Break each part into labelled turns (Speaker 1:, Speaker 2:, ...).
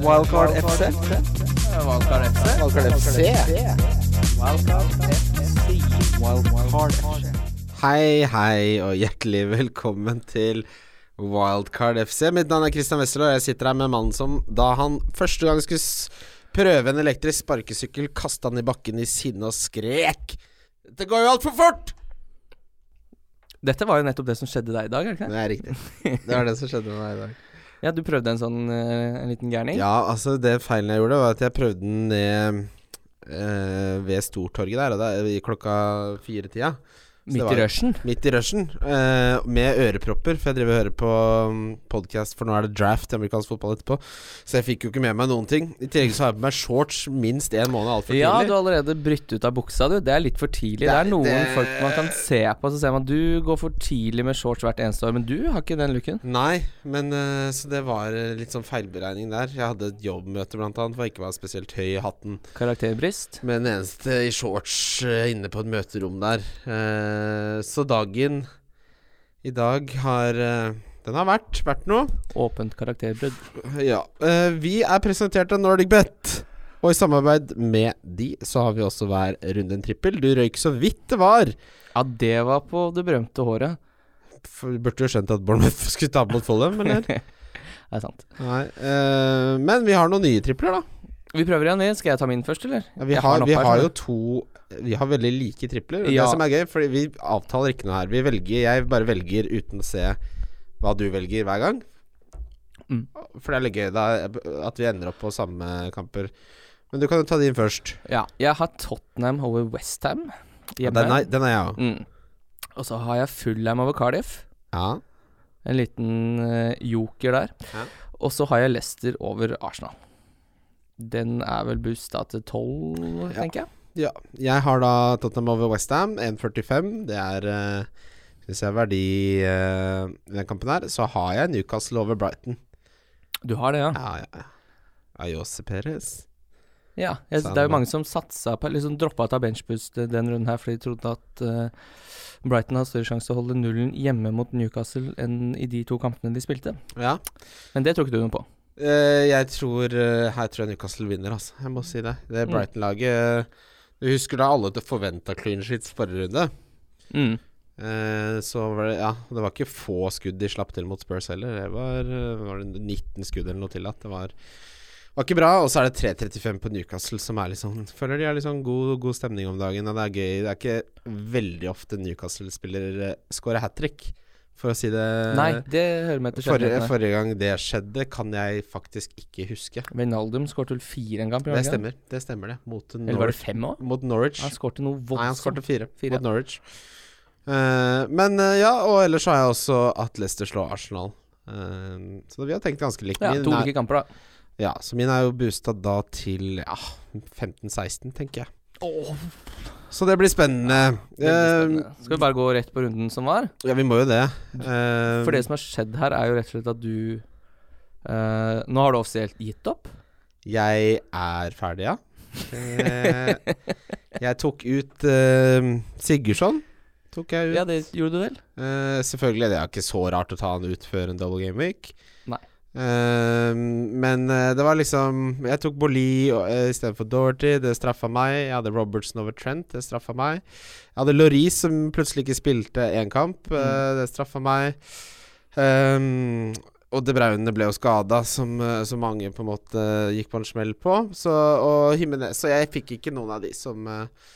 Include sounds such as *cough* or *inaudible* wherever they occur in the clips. Speaker 1: Wildcard FC.
Speaker 2: Valkar FC.
Speaker 1: Wildcard FC. Wildcard FC.
Speaker 3: Hei, hei, og hjertelig velkommen til Wildcard FC. Mitt navn er Christian Wessel, og jeg sitter her med mannen som da han første gang skulle s- prøve en elektrisk sparkesykkel, kasta han i bakken i sinne og skrek. Det går jo altfor fort!
Speaker 2: Dette var jo nettopp det som skjedde deg i dag, er det ikke det?
Speaker 3: Det er riktig. Det var det som skjedde med meg i dag.
Speaker 2: Ja, du prøvde en sånn eh, en liten gærning.
Speaker 3: Ja, altså, det feilen jeg gjorde, var at jeg prøvde den ned eh, ved Stortorget der, og da, i klokka fire-tida. Så det
Speaker 2: Midt
Speaker 3: var-
Speaker 2: i rushen.
Speaker 3: Midt i rushen, eh, med ørepropper, for jeg driver og hører på podkast, for nå er det draft i amerikansk fotball etterpå. Så jeg fikk jo ikke med meg noen ting. I tillegg så har jeg på meg shorts minst én måned altfor tidlig.
Speaker 2: Ja, du har allerede brytt ut av buksa, du. Det er litt for tidlig.
Speaker 3: Det
Speaker 2: Det
Speaker 3: er-
Speaker 2: er noen
Speaker 3: det-
Speaker 2: folk man kan se på, så ser man du går for tidlig med shorts hvert eneste år, men du har ikke den looken.
Speaker 3: Nei, men eh, så det var eh, litt sånn feilberegning der. Jeg hadde et jobbmøte, blant annet, hvor jeg ikke var spesielt høy i hatten.
Speaker 2: Karakterbrist.
Speaker 3: Med den eneste i shorts eh, inne på et møterom der. Eh, så dagen i dag har eh, Den har vært, vært noe.
Speaker 2: Åpent karakterbrudd.
Speaker 3: Ja. eh, vi er presentert av Nordic Bet. Og i samarbeid med de så har vi også hver runde en trippel. Du røyk så vidt det var.
Speaker 2: Ja, det var på det berømte håret. *laughs*
Speaker 3: For vi burde jo skjønt at Bournemouth *laughs* skulle tape mot Follum,
Speaker 2: *laughs*
Speaker 3: eller?
Speaker 2: Det er sant.
Speaker 3: Nei. eh, men vi har noen nye tripler, da.
Speaker 2: Vi prøver igjen, vi. Skal jeg ta min først, eller?
Speaker 3: Ja, vi
Speaker 2: Jeg
Speaker 3: har,
Speaker 2: den
Speaker 3: vi
Speaker 2: oppe her,
Speaker 3: har jo
Speaker 2: skjønner
Speaker 3: to Vi har veldig like tripler. og
Speaker 2: Ja.
Speaker 3: Det som er gøy, fordi vi avtaler ikke noe her. Vi velger, Jeg bare velger uten å se hva du velger hver gang.
Speaker 2: Mm.
Speaker 3: For det er litt gøy da, at vi ender opp på samme kamper. Men du kan jo ta din først.
Speaker 2: du. Ja, jeg har Tottenham over Westham.
Speaker 3: Ja, Den er, den er jeg òg.
Speaker 2: Mm. Og så har jeg Fullham over Cardiff.
Speaker 3: Ja.
Speaker 2: En liten eh, joker der.
Speaker 3: Ja.
Speaker 2: Og så har jeg Leicester over Arsenal. Den er vel busta til tolv,
Speaker 3: Ja.
Speaker 2: tenker jeg.
Speaker 3: ja. Jeg har da Tottenham over Westham, 1,45. Det er uh, Hvis jeg verdi eh, i den kampen her, så har jeg Newcastle over Brighton.
Speaker 2: Du har det, ja?
Speaker 3: Ja, ja, ja. Ayose Perez.
Speaker 2: Ja. Jeg,
Speaker 3: Sa
Speaker 2: det
Speaker 3: han
Speaker 2: er jo mange som satsa på Liksom droppa ut av benchboost eh, den runden her fordi de trodde at eh, Brighton har større sjanse til å holde nullen hjemme mot Newcastle enn i de to kampene de spilte.
Speaker 3: Ja.
Speaker 2: Men det tror ikke du noe på.
Speaker 3: Eh, jeg tror eh, Her tror jeg Newcastle vinner, altså. Jeg må si det. Det
Speaker 2: Mm.
Speaker 3: Brighton-laget eh, Du husker da alle forventa clean sheets forrige runde?
Speaker 2: Mm.
Speaker 3: Eh, så var det Ja, det var ikke få skudd de slapp til mot Spurs heller. Det var, eh, var det 19 skudd eller noe til at det var var ikke bra, og så er det 3.35 på Newcastle som er litt sånn Føler de har litt sånn god, god stemning om dagen, og det er gøy. Det er ikke veldig ofte Newcastle-spiller eh, scorer hat trick, for å si det
Speaker 2: Nei, det hører med til
Speaker 3: Eh, Forrige,
Speaker 2: sjeldenhetene.
Speaker 3: forrige gang det skjedde, kan jeg faktisk ikke huske.
Speaker 2: Vinaldum skåret vel fire en kamp? gjorde han
Speaker 3: Det
Speaker 2: ikke
Speaker 3: stemmer, det stemmer det. Mot
Speaker 2: Eller var det
Speaker 3: Norwich.
Speaker 2: fem òg?
Speaker 3: Mot Norwich.
Speaker 2: Han skårte
Speaker 3: Nei,
Speaker 2: noe
Speaker 3: han
Speaker 2: voldsomt.
Speaker 3: skårte fire,
Speaker 2: Fire, ja.
Speaker 3: mot Norwich. Eh, men eh, ja, og ellers har jeg også at Leicester slår Arsenal. Eh, så vi har tenkt ganske likt.
Speaker 2: Ja,
Speaker 3: Min
Speaker 2: to
Speaker 3: er-
Speaker 2: ulike kamper, da.
Speaker 3: ja, så min er jo boosta da til ja, 15-16, tenker jeg. Så det blir spennende.
Speaker 2: Veldig
Speaker 3: Eh,
Speaker 2: spennende. Skal vi bare gå rett på runden som var?
Speaker 3: ja, vi må jo det. Eh,
Speaker 2: For det som har skjedd her, er jo rett og slett at du eh, Nå har du offisielt gitt opp.
Speaker 3: Eh, Jeg er ferdig,
Speaker 2: *laughs*
Speaker 3: ja. Eh, jeg tok ut eh, Sigurdsson. Tok jeg ut.
Speaker 2: Ja, det gjorde du vel?
Speaker 3: Eh, selvfølgelig, det er ikke så rart å ta han ut før en double game week.
Speaker 2: Nei.
Speaker 3: Eh, men eh, det var liksom Jeg tok Boli uh, istedenfor Dorothy. Det straffa meg. Jeg hadde Robertson over Trent. Det straffa meg. Jeg hadde Loris, som plutselig ikke spilte én kamp. eh,
Speaker 2: Mm.
Speaker 3: Det straffa meg. Um, og De Braune ble jo skada, som, eh, som mange på en måte gikk på en smell på. Så, og Jimenez, så jeg fikk ikke noen av de som eh,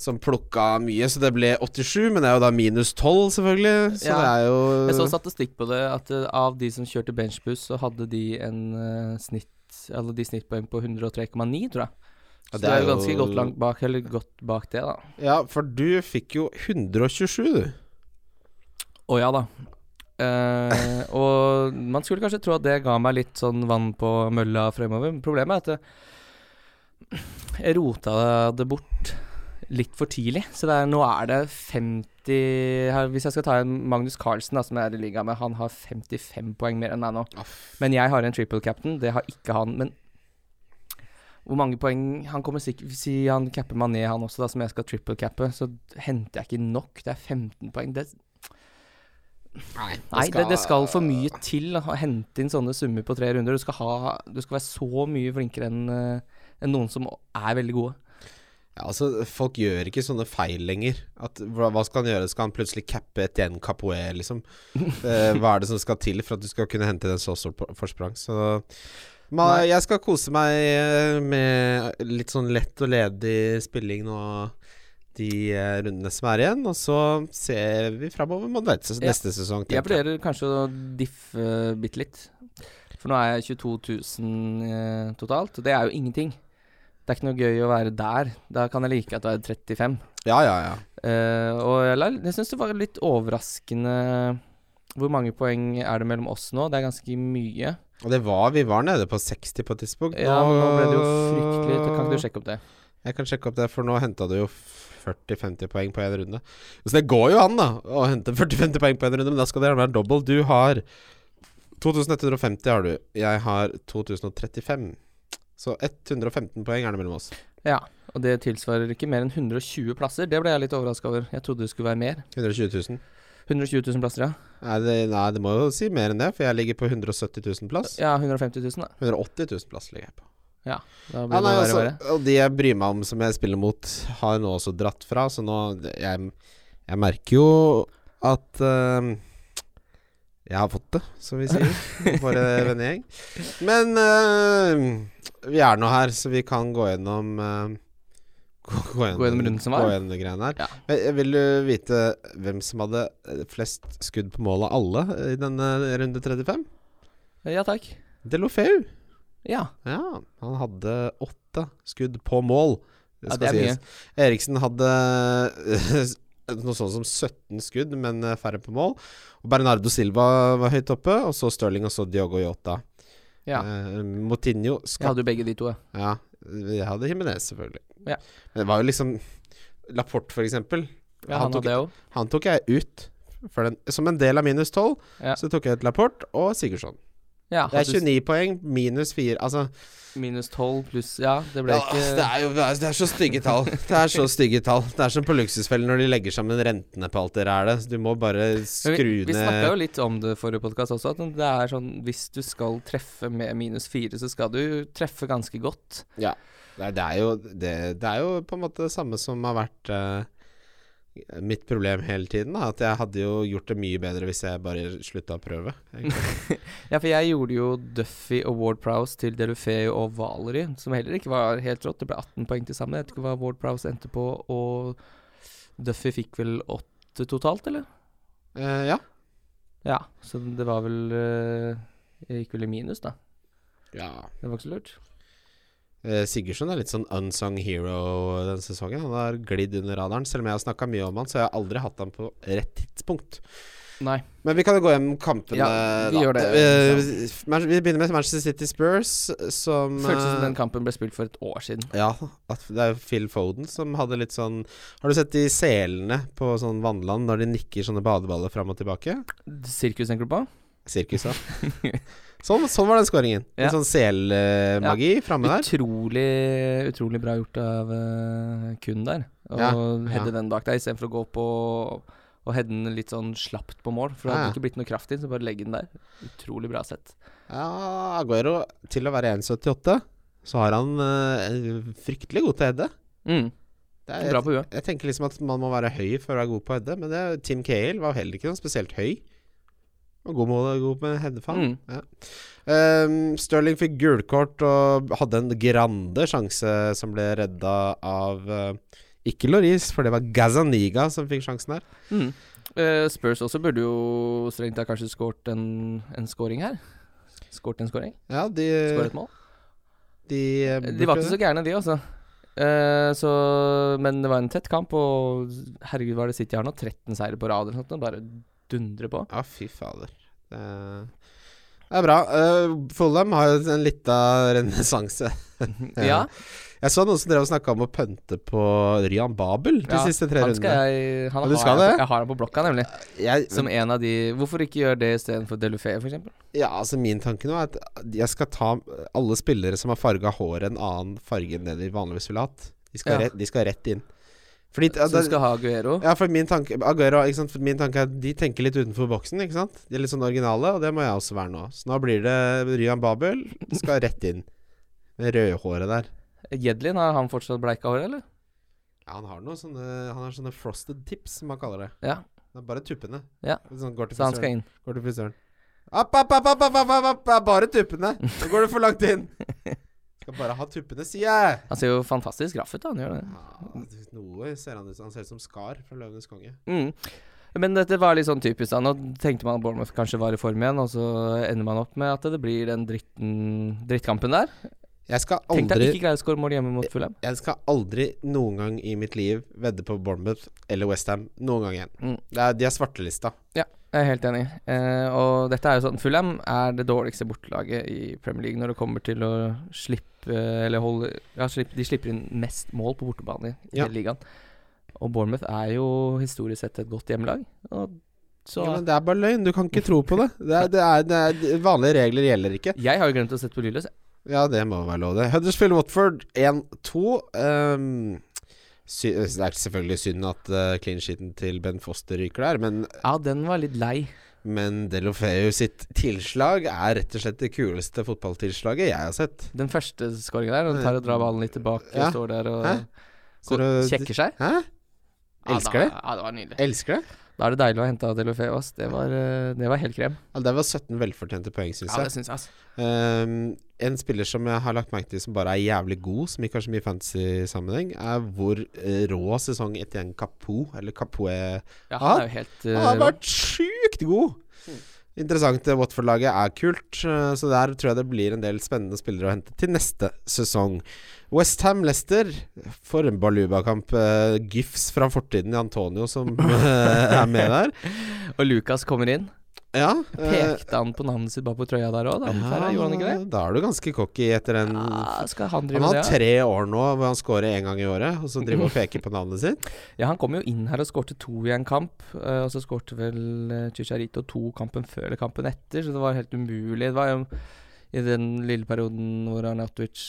Speaker 3: som plukka mye, så det ble 87, men det er jo da minus 12, selvfølgelig. Så
Speaker 2: Ja.
Speaker 3: det er jo
Speaker 2: Jeg så statistikk på det, at eh, av de som kjørte benchbuss, så hadde de en eh, snitt Eller de snittpoeng på 103,9, tror jeg. Så
Speaker 3: Ja,
Speaker 2: det er jo ganske godt langt bak, eller godt bak det, da.
Speaker 3: Ja, for du fikk jo 127, du.
Speaker 2: Å ja da. Eh, og man skulle kanskje tro at det ga meg litt sånn vann på mølla fremover. Men Problemet er at det- jeg rota det bort litt for tidlig. Så det er, nå er det 50 her, Hvis jeg skal ta en Magnus Carlsen, da, som jeg er i liga med, han har 55 poeng mer enn meg nå. Men jeg har en triple captain, det har ikke han. Men hvor mange poeng Han kommer sikkert Si han capper meg ned, han også, da, som jeg skal triple cappe. Så henter jeg ikke nok. Det er 15 poeng. Det
Speaker 3: Nei,
Speaker 2: Nei, det, det skal for mye til å ha- hente inn sånne summer på tre runder. Du skal, ha, du skal være så mye flinkere enn eh, enn noen som er veldig gode.
Speaker 3: Ja, altså, folk gjør ikke sånne feil lenger. At, hva, hva skal han gjøre? Skal han plutselig cappe et en capoe,
Speaker 2: *laughs*
Speaker 3: liksom? Eh, hva er det som skal til for at du skal kunne hente den så stort på- forsprang? Så ma, jeg skal kose meg eh, med litt sånn lett og ledig spilling nå de eh, rundene som er igjen. Og så ser vi framover mot neste,
Speaker 2: Ja.
Speaker 3: neste sesong.
Speaker 2: Jeg
Speaker 3: tenker jeg.
Speaker 2: vurderer kanskje å diffe bitte litt. For nå er jeg 22 000 eh, totalt. Det er jo ingenting. Det er ikke noe gøy å være der. Da kan jeg like at det er 35.
Speaker 3: Ja, ja, ja.
Speaker 2: Eh, og jeg, la- jeg syns det var litt overraskende Hvor mange poeng er det mellom oss nå? Det er ganske mye.
Speaker 3: Og det var, vi var nede på 60 på et tidspunkt.
Speaker 2: Ja, men nå ble det jo fryktelig Kan ikke du sjekke opp det?
Speaker 3: Jeg kan sjekke opp det, for nå henta du jo 40-50 poeng på én runde. Så det går jo an, da, å hente 40-50 poeng på én runde, men da skal det gjerne være dobbel. Du har 2150, har du. Jeg har 2035. Så 115 poeng er det mellom oss.
Speaker 2: Ja. Og det tilsvarer ikke mer enn 120 plasser. Det ble jeg litt overraska over. Jeg trodde det skulle være mer.
Speaker 3: 120 000.
Speaker 2: 120 000 plasser, ja.
Speaker 3: Nei det, nei, det må jo si mer enn det, for jeg ligger på 170 000 plass.
Speaker 2: Ja, 150 000, da.
Speaker 3: 180 000 plass ligger jeg på.
Speaker 2: Da blir
Speaker 3: Ja, nei,
Speaker 2: det verre og
Speaker 3: altså,
Speaker 2: verre.
Speaker 3: og de jeg bryr meg om som jeg spiller mot, har nå også dratt fra, så nå Jeg, jeg merker jo at eh, jeg har fått det, som vi sier.
Speaker 2: *laughs*
Speaker 3: Våre vennegjeng. Men eh, vi er nå her, så vi kan gå gjennom eh, Gå, gå
Speaker 2: Gå gjennom runden som var.
Speaker 3: Gå gjennom de greiene her.
Speaker 2: Ja.
Speaker 3: Jeg, jeg vil jo vite hvem som hadde eh, flest skudd på mål av alle eh, i denne runde 35.
Speaker 2: Ja takk.
Speaker 3: Delofeu.
Speaker 2: Ja.
Speaker 3: Ja, han hadde åtte skudd på mål.
Speaker 2: Ja, det er mye.
Speaker 3: Eriksen hadde eh, noe sånt som 17 skudd, men eh, færre på mål. Og Bernardo Silva var høyt oppe, og så Stirling og så Diogo Yota.
Speaker 2: Ja.
Speaker 3: Eh, Moutinho
Speaker 2: Jeg
Speaker 3: skap...
Speaker 2: hadde jo begge de to, ja.
Speaker 3: Ja, jeg hadde Jimenez, selvfølgelig.
Speaker 2: Ja.
Speaker 3: Men det var jo liksom Laporte, for eksempel.
Speaker 2: ja
Speaker 3: Han
Speaker 2: han
Speaker 3: tok-
Speaker 2: hadde jeg òg.
Speaker 3: Han tok jeg ut. For den, som en del av minus 12,
Speaker 2: Ja.
Speaker 3: så tok jeg ut Laporte og Sigurdsson.
Speaker 2: Ja,
Speaker 3: Det
Speaker 2: hadde
Speaker 3: er 29 poeng, minus 4 Altså
Speaker 2: Minus 12 pluss Ja, det ble
Speaker 3: Ja,
Speaker 2: ikke
Speaker 3: det, er jo, det, er, det er så stygge tall. Det er så stygge tall Det er som på Luksusfellen når de legger sammen rentene på alt det der. Du må bare
Speaker 2: Men
Speaker 3: skru
Speaker 2: Vi, vi snakka jo
Speaker 3: ned
Speaker 2: litt om det forrige podkast også, at det er sånn hvis du skal treffe med minus fire, så skal du treffe ganske godt.
Speaker 3: ja. det, er, det, er jo, det, det er jo på en måte det samme som har vært eh, mitt problem hele tiden. Da. At jeg hadde jo gjort det mye bedre hvis jeg bare slutta å prøve.
Speaker 2: *laughs*
Speaker 3: egentlig.
Speaker 2: Ja, for jeg gjorde jo Duffy og Ward Prowse til Delufeu og Valerie, som heller ikke var helt rått. Det ble 18 poeng til sammen. Jeg vet ikke hva Ward Prowse endte på, og Duffy fikk vel åtte totalt, eller?
Speaker 3: Eh, ja.
Speaker 2: Ja, så det var vel eh, Jeg gikk vel i minus, da.
Speaker 3: ja.
Speaker 2: Det var ikke så lurt.
Speaker 3: Eh, Sigurdsson er litt sånn unsung hero denne sesongen. Han har glidd under radaren. Selv om jeg har snakka mye om han, så har jeg aldri hatt han på rett tidspunkt.
Speaker 2: Nei.
Speaker 3: Men vi kan jo gå hjem kampene
Speaker 2: Ja, vi
Speaker 3: da.
Speaker 2: gjør det.
Speaker 3: Eh, Man- vi begynner med Manchester City Spurs, som
Speaker 2: Føltes som
Speaker 3: eh,
Speaker 2: den kampen ble spilt for et år siden.
Speaker 3: Ja, at det er jo Phil Foden som hadde litt sånn Har du sett de selene på sånn vannland når de nikker sånne badeballer fram og tilbake?
Speaker 2: Sirkus tenker du på?
Speaker 3: Sirkus,
Speaker 2: *laughs*
Speaker 3: ja. sånn, sånn var den skåringen.
Speaker 2: Ja.
Speaker 3: Litt sånn selmagi framme der.
Speaker 2: Utrolig, utrolig bra gjort av eh, Kun der. Å
Speaker 3: Ja,
Speaker 2: heade
Speaker 3: ja.
Speaker 2: den bak deg istedenfor å gå på og heade den litt sånn slapt på mål. For det
Speaker 3: Ja,
Speaker 2: hadde
Speaker 3: ja.
Speaker 2: ikke blitt noe kraft i den, så bare legge den der. Utrolig bra sett.
Speaker 3: Ja, Aguero, til å være 1,78, så har han eh, fryktelig god til å hedde.
Speaker 2: Mm,
Speaker 3: Det er-
Speaker 2: bra på huet.
Speaker 3: Jeg tenker liksom at man må være høy for å være god på å hedde, men det, Tim Cale var heller ikke noe spesielt høy. Og god mål god med headefan.
Speaker 2: Mm.
Speaker 3: Um, Sterling fikk gulkort og hadde en grande sjanse som ble redda av eh, ikke Loris, for det var Gazaniga som fikk sjansen her.
Speaker 2: Mm. Eh, Spurs også burde jo strengt tatt kanskje skåret en, en scoring her. Skåret en scoring?
Speaker 3: Ja, de,
Speaker 2: Skåret et mål?
Speaker 3: de, eh,
Speaker 2: De var
Speaker 3: burde-
Speaker 2: ikke så gærne, de også. Eh, så, men det var en tett kamp, og herregud, hva er det City har nå? 13 seire på rad eller noe sånt? og Bare dundre på.
Speaker 3: Ja, fy fader. Det er- det er bra. Uh, Fulham har jo en lita renessanse.
Speaker 2: *laughs* ja.
Speaker 3: Jeg så noen som drev og snakka om å pønte på Ryan Babel de
Speaker 2: Ja,
Speaker 3: siste tre
Speaker 2: Han
Speaker 3: rundene.
Speaker 2: skal jeg Han
Speaker 3: Ja, du
Speaker 2: har
Speaker 3: skal
Speaker 2: jeg,
Speaker 3: det?
Speaker 2: på- jeg har han på blokka, nemlig.
Speaker 3: Jeg,
Speaker 2: Som en av de Hvorfor ikke gjøre det istedenfor Delufeu, f.eks.?
Speaker 3: ja, altså Min tanke nå er at jeg skal ta alle spillere som har farga håret en annen farge enn det de vanligvis ville hatt. De skal,
Speaker 2: Ja.
Speaker 3: rett, de skal rett inn. Fordi ja,
Speaker 2: Så du
Speaker 3: det,
Speaker 2: skal ha Aguero?
Speaker 3: ja, for min tanke Aguero, ikke sant? For min tanke er at de tenker litt utenfor boksen, ikke sant? De er litt sånn originale, og det må jeg også være nå. Så nå blir det Ryan Babel skal rett inn. Med rødhåret der.
Speaker 2: Jedlin, har han fortsatt bleika hår, eller?
Speaker 3: Ja, han har noen sånne Han har sånne frosted tips, som han kaller det.
Speaker 2: Ja,
Speaker 3: Det er bare tuppene.
Speaker 2: Ja.
Speaker 3: Sånn, går til
Speaker 2: så han skal
Speaker 3: frisøren.
Speaker 2: inn.
Speaker 3: Går til frisøren. App, app, app, app, app, app, app, app, app, bare tuppene! Nå går du for langt
Speaker 2: *laughs*
Speaker 3: inn! Skal bare ha tuppene, sier jeg!
Speaker 2: Han ser jo fantastisk raff ut, da. Han gjør det.
Speaker 3: Ja, noe ser han ut som. Han ser ut som Skar fra 'Løvenes konge'.
Speaker 2: Mm. Men dette var litt sånn typisk. da Nå tenkte man at Bournemouth kanskje var i form igjen, og så ender man opp med at det blir den dritten, drittkampen der.
Speaker 3: Jeg skal
Speaker 2: Tenk deg
Speaker 3: aldri
Speaker 2: ikke greie å skåre mål hjemme mot Fulham.
Speaker 3: Jeg skal aldri noen gang i mitt liv vedde på Bournemouth eller Westham noen gang igjen.
Speaker 2: Mm.
Speaker 3: Det er, de er svartelista.
Speaker 2: Jeg er helt enig. Eh, og dette er jo sånn Fulham er det dårligste bortelaget i Premier League når det kommer til å slippe Eller holde Ja, slipp, de slipper inn mest mål på bortebane i
Speaker 3: Ja.
Speaker 2: hele ligaen. Og Bournemouth er jo historisk sett et godt hjemmelag. Og så
Speaker 3: Ja, men det er bare løgn. Du kan ikke tro på det. det, er, det, er, det er, vanlige regler gjelder ikke.
Speaker 2: Jeg har jo glemt å sette på lydløs. jeg.
Speaker 3: Ja, det må være lov, det. Huddersfield Watford 1-2. Um, sy det er selvfølgelig synd at eh, clean sheeten til Ben Foster ryker der, men,
Speaker 2: Ja, den var litt lei.
Speaker 3: men Delofeu sitt tilslag er rett og slett det kuleste fotballtilslaget jeg har sett.
Speaker 2: Den første skåringa der, han tar og drar ballen litt tilbake
Speaker 3: Ja.
Speaker 2: og står der og
Speaker 3: Hæ? Så
Speaker 2: går,
Speaker 3: du-
Speaker 2: kjekker seg.
Speaker 3: Hæ? Elsker
Speaker 2: ja,
Speaker 3: det.
Speaker 2: da, ja, det var nydelig.
Speaker 3: Elsker det.
Speaker 2: Da er det deilig å hente av Delofeu, ass. Det var, eh, det var helt krem.
Speaker 3: Ja, det var 17 velfortjente poeng, syns
Speaker 2: Ja,
Speaker 3: jeg.
Speaker 2: det syns jeg, ass.
Speaker 3: Ehm, en spiller som jeg har lagt merke til som bare er jævlig god, som ikke har så mye fantasy-sammenheng, er hvor eh, rå sesong Etienne Capoe, eller Capoe
Speaker 2: Ja,
Speaker 3: Ah.
Speaker 2: han er jo helt eh,
Speaker 3: Han har
Speaker 2: rå.
Speaker 3: vært sjukt god! Interessant. eh, Watford-laget er kult, eh, så der tror jeg det blir en del spennende spillere å hente til neste sesong. Westham Leicester, for en baluba-kamp. eh, Gifs fra fortiden i Antonio
Speaker 2: *laughs*
Speaker 3: som eh, er med der.
Speaker 2: Og Lucas kommer inn.
Speaker 3: Ja. eh,
Speaker 2: Pekte han på navnet sitt bare på trøya der òg, da? antar jeg,
Speaker 3: ja,
Speaker 2: Gjorde han ikke det?
Speaker 3: da er du ganske cocky etter den
Speaker 2: Ja, skal han
Speaker 3: Han
Speaker 2: drive
Speaker 3: har
Speaker 2: med det?
Speaker 3: tre år nå hvor han scorer én gang i året, og så driver og peker på navnet sitt.
Speaker 2: ja? Ja, han kom jo inn her og skårte to i en kamp. eh, Og så skårte vel eh, Chicharito to kampen før eller kampen etter, så det var helt umulig. Det var jo i den lille perioden hvor Arnautovic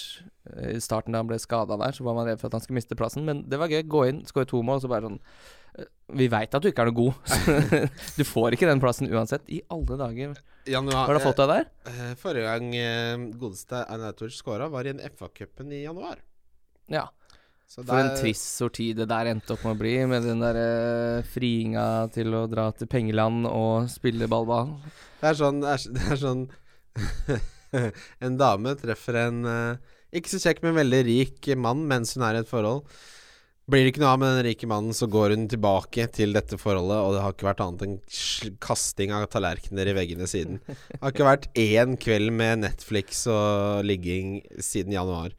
Speaker 2: eh, I starten da han ble skada der, så var man redd for at han skulle miste plassen, men det var gøy. Gå inn, skåre to mål, og så bare sånn eh, Vi veit at du ikke er noe god. *laughs* du får ikke den plassen uansett. I alle dager.
Speaker 3: Januar,
Speaker 2: Hva har du fått deg der?
Speaker 3: eh, Forrige gang eh, godeste Arnautovic scora, var i en FA-cupen i januar.
Speaker 2: Ja.
Speaker 3: Så
Speaker 2: For en trist sorti det der endte opp med å bli, med den der eh, friinga til å dra til pengeland og spille ballball.
Speaker 3: Det er sånn, det er, *laughs* det er sånn En dame treffer en eh, ikke så kjekk, men veldig rik mann mens hun er i et forhold. Blir det ikke noe av med den rike mannen, så går hun tilbake til dette forholdet, og det har ikke vært annet enn sl- kasting av tallerkener i veggene siden. Det har ikke vært én kveld med Netflix og ligging siden januar.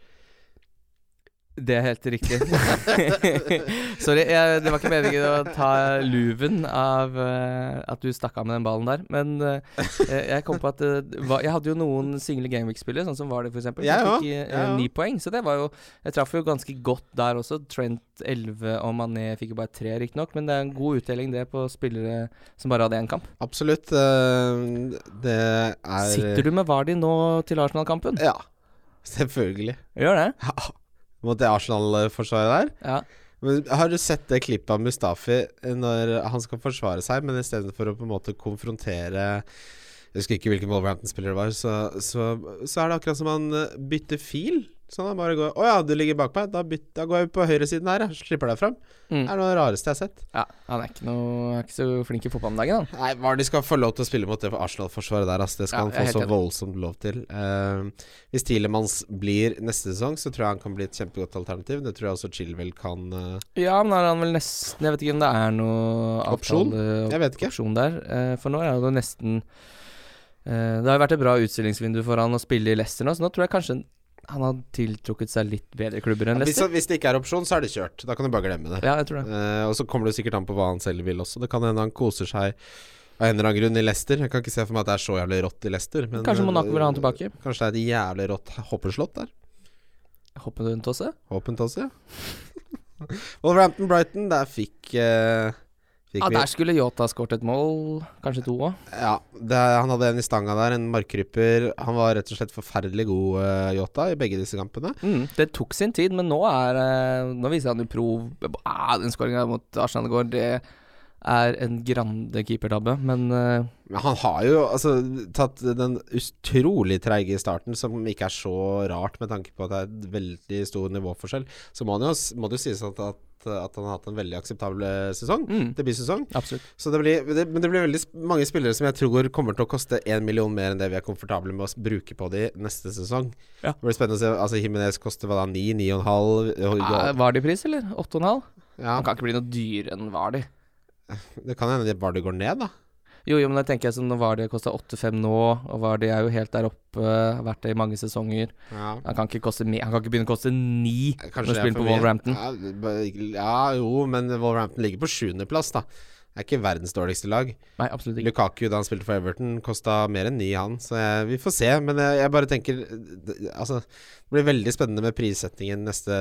Speaker 2: Det er helt riktig. *laughs* Sorry, jeg, det var ikke meningen å ta luven av eh, at du stakk av med den ballen der, men eh, jeg jeg kom på at eh, det var- Jeg hadde jo noen single gameweek-spillere, sånn som var det, for eksempel.
Speaker 3: Jeg
Speaker 2: som
Speaker 3: òg,
Speaker 2: fikk eh,
Speaker 3: jeg òg.
Speaker 2: ni poeng, så det var jo Jeg traff jo ganske godt der også. Trent 11 og Mané fikk jo bare tre, riktignok, men det er en god uttelling, det, på spillere som bare hadde én kamp.
Speaker 3: Absolutt. eh, det er
Speaker 2: Sitter du med Vardi nå til Arsenal-kampen?
Speaker 3: Ja. Selvfølgelig. *laughs*
Speaker 2: Gjør det?
Speaker 3: Ja. Mot det Arsenal-forsvaret der.
Speaker 2: Ja.
Speaker 3: Men Har du sett det klippet av Mustafi eh, når han skal forsvare seg, men istedenfor å på en måte konfrontere Jeg husker ikke hvilken Wolverhampton-spiller det var, så, så, så er det akkurat som han eh, bytter fil. Sånn han bare går 'Å ja, du ligger bak meg. Da, byt, da går jeg på høyresiden her, jeg. Slipper deg fram.' Det
Speaker 2: Mm.
Speaker 3: er noe av det rareste jeg har sett.
Speaker 2: ja. Han er ikke, noe, er ikke så flink i fotball om dagen, han.
Speaker 3: Nei, hva er det de skal få lov til å spille mot det Arsenal-forsvaret der, ass. Det
Speaker 2: Ja,
Speaker 3: skal
Speaker 2: jeg er
Speaker 3: han få
Speaker 2: helt
Speaker 3: så
Speaker 2: enig.
Speaker 3: voldsomt lov til. Eh, hvis Tilemans blir neste sesong, så tror jeg han kan bli et kjempegodt alternativ. Det tror jeg også Chilwell kan eh,
Speaker 2: Ja, men er han vel nesten Jeg vet ikke om det er noe
Speaker 3: Opsjon?
Speaker 2: avtale-
Speaker 3: Jeg vet ikke.
Speaker 2: opsjon der. eh, For nå er det jo nesten eh, Det har jo vært et bra utstillingsvindu for han å spille i Leicester nå, så nå tror jeg kanskje han har tiltrukket seg litt bedre klubber enn
Speaker 3: Hvis,
Speaker 2: Leicester.
Speaker 3: hvis det ikke er opsjon, så er det kjørt. Da kan du bare glemme det.
Speaker 2: Ja, jeg tror det.
Speaker 3: Eh, og så kommer det sikkert an på hva han selv vil også. Det kan hende han koser seg av en eller annen grunn i Leicester. Jeg kan ikke se for meg at det er så jævlig rått i Leicester. Men, eh,
Speaker 2: Kanskje Monaco vil ha han tilbake.
Speaker 3: Kanskje det er et jævlig rått hoppeslott der.
Speaker 2: Hopper du rundt også?
Speaker 3: *laughs* Håpent også, ja. Wolverhampton Brighton, der fikk eh, Fikk
Speaker 2: Ja,
Speaker 3: vi-
Speaker 2: Ah, der skulle Yota skåret et mål, kanskje to òg.
Speaker 3: Ja, det, han hadde en i stanga der, en markryper. Han var rett og slett forferdelig god, eh, Jota, i begge disse kampene.
Speaker 2: Mm, det tok sin tid, men nå er eh, Nå viser han jo prov ah, Den skåringa mot Arsenal i går, det er en grande keepertabbe, men eh,
Speaker 3: Men han har jo altså, tatt den utrolig treige starten, som ikke er så rart med tanke på at det er et veldig stor nivåforskjell. Så må, han jo, s- må det jo sies at, at, at han har hatt en veldig akseptabel eh, sesong.
Speaker 2: Mm.
Speaker 3: Debutsesong.
Speaker 2: absolutt.
Speaker 3: Så det blir, det, men det blir veldig sp- mange spillere som jeg tror kommer til å koste én million mer enn det vi er komfortable med å s- bruke på de neste sesong.
Speaker 2: Ja.
Speaker 3: Det blir spennende å se. Altså, Himinez koster hva da, ni, ni og en halv? og-
Speaker 2: Eh, var det i pris, eller? 8,5?
Speaker 3: Ja.
Speaker 2: Han kan ikke bli noe dyrere enn Vardi.
Speaker 3: Det kan hende det bare det går ned, da.
Speaker 2: Jo, jo, men da tenker jeg sånn når Vardi kosta 8,5 nå, og Vardi er jo helt der oppe, har vært det i mange sesonger. Han kan ikke, koste mer, han kan ikke begynne å koste 9 når du
Speaker 3: det er
Speaker 2: spiller
Speaker 3: for
Speaker 2: på
Speaker 3: mye.
Speaker 2: Wolverhampton.
Speaker 3: Ja, det bare- ja, jo, men Wolverhampton ligger på sjuendeplass, da. Det er ikke verdens dårligste lag.
Speaker 2: Nei, absolutt ikke.
Speaker 3: Lukaku, da han spilte for Everton, kosta mer enn ni, han. Så jeg, vi får se. Men jeg, jeg bare tenker d- Altså, det blir veldig spennende med prissettingen neste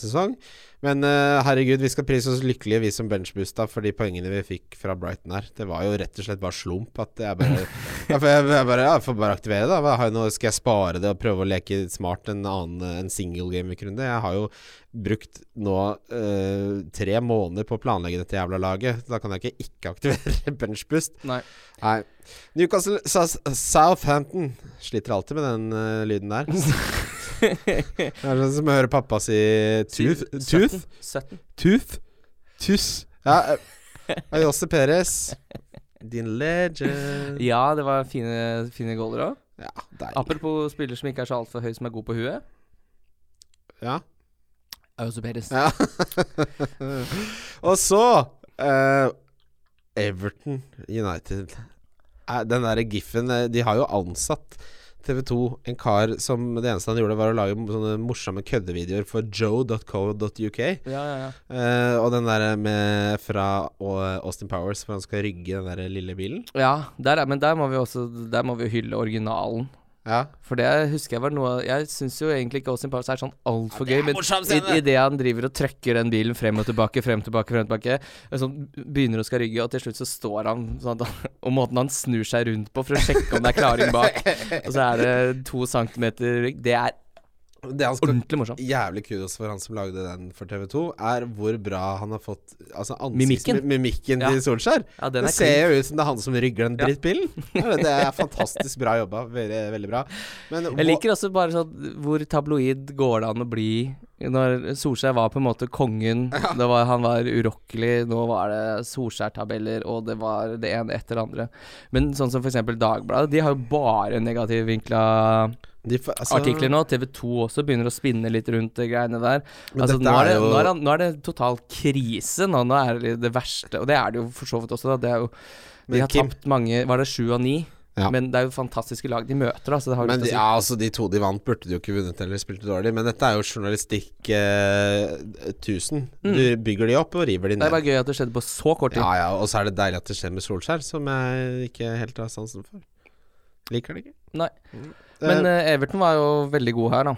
Speaker 3: sesong. Men eh, herregud, vi skal prise oss lykkelige, vi som benchboosta, for de poengene vi fikk fra Brighton her. Det var jo rett og slett bare slump. At jeg
Speaker 2: *laughs*
Speaker 3: bare Ja, for jeg, jeg bare, ja, jeg får bare aktivere det. da. Jeg har jo noe, skal jeg spare det og prøve å leke smart en annen en single gamer-runde? Jeg har jo brukt nå eh, tre måneder på å planlegge dette jævla laget. Da kan jeg ikke ikke aktivere *laughs* benchboost.
Speaker 2: Nei.
Speaker 3: Nei. Newcastle Sa- Southampton sliter alltid med den eh, lyden *laughs* der. Det
Speaker 2: *laughs*
Speaker 3: er sånn som å høre pappa si tooth. Tooth?
Speaker 2: 17.
Speaker 3: Tooth? Tuss. Ja, eh, Ayose Perez. Din legend.
Speaker 2: Ja, det var fine, fine goaler òg.
Speaker 3: Ja, deilig.
Speaker 2: Apropos spiller som ikke er så altfor høy, som er god på huet.
Speaker 3: Ja.
Speaker 2: Auzo Perez.
Speaker 3: Ja. og så eh, Everton United. Eh, Den derre giffen eh, De har jo ansatt TV2 en kar som det eneste han gjorde, var å lage sånne morsomme køddevideoer for joe.co.uk.
Speaker 2: Ja, ja, ja.
Speaker 3: Eh, og den derre med fra Au- Austin Powers, hvor han skal rygge den derre lille bilen.
Speaker 2: ja der er, men der må vi også Der må vi jo hylle originalen.
Speaker 3: Ja.
Speaker 2: For det husker jeg var noe Jeg syns jo egentlig ikke Austin Powers er sånn altfor
Speaker 3: Ja, det er
Speaker 2: gøy, men
Speaker 3: morsom
Speaker 2: i,
Speaker 3: scene.
Speaker 2: i det han driver og trøkker den bilen frem og tilbake, frem og tilbake, frem og tilbake, og sånn begynner å skal rygge, og til slutt så står han sånn at han- *laughs* Og måten han snur seg rundt på for å sjekke om det er klaring bak, og så er det to centimeter rygg, det er
Speaker 3: Det han skal
Speaker 2: ordentlig morsomt.
Speaker 3: Jævlig kudos for han som lagde den for TV2, er hvor bra han har fått altså
Speaker 2: Mimikken.
Speaker 3: ansiktsmimikken mimikken
Speaker 2: Ja.
Speaker 3: til Solskjær.
Speaker 2: Ja, den er
Speaker 3: det
Speaker 2: clean.
Speaker 3: ser jo ut som det er han som rygger den
Speaker 2: *laughs*
Speaker 3: drittbilen. Ja. det er fantastisk bra jobba. Veldig, veldig bra. Men
Speaker 2: Jeg liker også bare sånn hvor tabloid går det an å bli når Solskjær var på en måte kongen. Det var, han var urokkelig. Nå var det Solskjær-tabeller, og det var det ene etter det andre. Men sånn som f.eks. Dagbladet, de har jo bare negativvinkla
Speaker 3: de fa- altså-
Speaker 2: artikler nå. TV 2 også begynner å spinne litt rundt det greiene der.
Speaker 3: Men
Speaker 2: Altså,
Speaker 3: dette
Speaker 2: nå, er det,
Speaker 3: er jo-
Speaker 2: nå, er det, nå er det total krise nå. Nå er det det verste, og det er det jo for så vidt også. Da. Det er jo,
Speaker 3: Men
Speaker 2: de har
Speaker 3: Kim-
Speaker 2: tapt mange Var det sju av ni?
Speaker 3: Ja.
Speaker 2: Men det er jo fantastiske lag de møter, da, så det har jo
Speaker 3: Men
Speaker 2: litt å
Speaker 3: de,
Speaker 2: si.
Speaker 3: ja, altså, de to de vant, burde de jo ikke vunnet eller spilte dårlig. Men dette er jo journalistikk eh, 1000. Du bygger de opp og river de
Speaker 2: Mm. Det
Speaker 3: ned.
Speaker 2: er bare gøy at det skjedde på så kort tid.
Speaker 3: Ja, ja, Og så er det deilig at det skjer med Solskjær, som jeg ikke helt har sansen for. Liker det ikke.
Speaker 2: Nei.
Speaker 3: Eh,
Speaker 2: Men eh, Everton var jo veldig god her, da.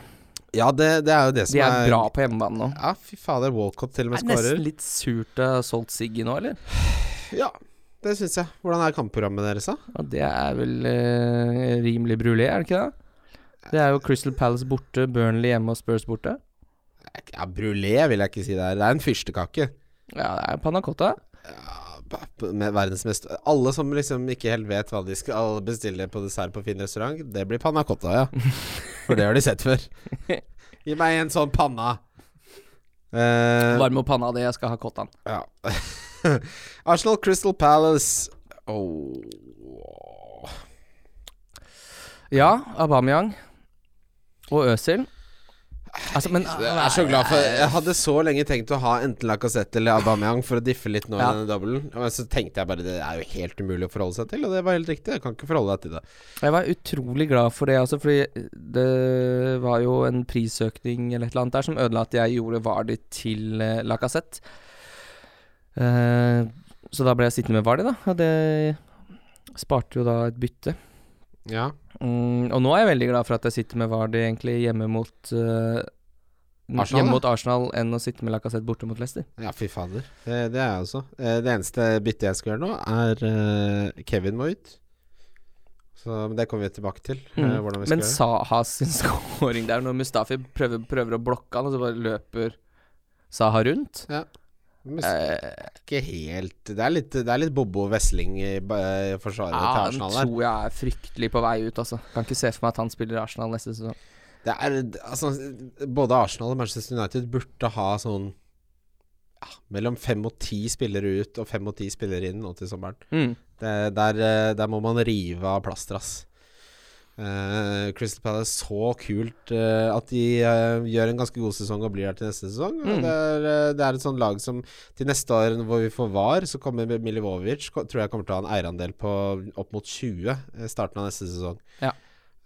Speaker 3: ja, det, det er jo det som
Speaker 2: De er bra på hjemmebane nå.
Speaker 3: Ja, fy fader. Walcott til og
Speaker 2: Det
Speaker 3: med
Speaker 2: er nesten
Speaker 3: skårer.
Speaker 2: litt surt å ha solgt Siggy nå, eller?
Speaker 3: Ja, det syns jeg. Hvordan er kampprogrammet deres, da?
Speaker 2: Ja, det er vel eh, rimelig brulé, er det ikke det? Det er jo Crystal Palace borte, Burnley hjemme og Spurs borte.
Speaker 3: Ja, Brulé vil jeg ikke si det er. Det er en fyrstekake.
Speaker 2: Ja, det er Panna Cotta.
Speaker 3: Ja, b- b- Med verdens mest Alle som liksom ikke helt vet hva de skal bestille på dessert på fin restaurant, det blir panna cotta, ja. For det har de sett
Speaker 2: *laughs*
Speaker 3: før. Gi meg en sånn panna. Eh,
Speaker 2: Varm opp panna di, jeg skal ha Cottaen.
Speaker 3: ja. *laughs* Arsenal Crystal Palace. Oh.
Speaker 2: Ja, Aubameyang og Øzil. Altså, men
Speaker 3: Jeg er så glad for Jeg hadde så lenge tenkt å ha enten Lacassette eller Aubameyang for å diffe litt nå
Speaker 2: Ja.
Speaker 3: i denne dobbelen. Men så tenkte jeg bare det er jo helt umulig å forholde seg til, og det var helt riktig. Jeg kan ikke forholde deg til det.
Speaker 2: Jeg var utrolig glad for det, altså, fordi det var jo en prisøkning eller et eller annet der som ødela at jeg gjorde Vardi til eh, Lacassette. Eh, så da ble jeg sittende med Vardi, da. Og det sparte jo da et bytte.
Speaker 3: Ja.
Speaker 2: Mm, og nå er jeg veldig glad for at jeg sitter med Vardi egentlig hjemme mot eh,
Speaker 3: Arsenal,
Speaker 2: hjemme
Speaker 3: ja.
Speaker 2: mot Arsenal enn å sitte med Lacassette borte mot Leicester.
Speaker 3: Ja, fy fader. Det, det er jeg også. Eh, Det eneste byttet jeg skal gjøre nå, er eh, Kevin må ut. Så men det kommer vi tilbake til. eh,
Speaker 2: Mm.
Speaker 3: Hvordan vi skal
Speaker 2: Men
Speaker 3: gjøre
Speaker 2: Saha sin *laughs* scoring der, når Mustafi prøver, prøver å blokke han, og så bare løper Saha rundt
Speaker 3: Men så-
Speaker 2: eh,
Speaker 3: Ikke helt Det er litt, det er litt Bobo Wesling i ba- i forsvaret til
Speaker 2: ja, Han
Speaker 3: Arsenal her.
Speaker 2: tror jeg er fryktelig på vei ut, altså. Kan ikke se for meg at han spiller i Arsenal neste sesong.
Speaker 3: Det er, altså, både Arsenal og Manchester United burde ha sånn ja, mellom fem og ti spillere ut og fem og ti spillere inn nå til sommeren.
Speaker 2: Mm.
Speaker 3: Det, der, eh, der må man rive av plaster, ass. Eh, Crystal Palace, så kult eh, at de eh, gjør en ganske god sesong og blir her til neste sesong. Og
Speaker 2: Mm.
Speaker 3: Det, er, eh, det er et sånt lag som til neste år, hvor vi får VAR, så kommer Milivojevic ko- Tror jeg kommer til å ha en eierandel på opp mot 20 i starten av neste sesong.
Speaker 2: Ja.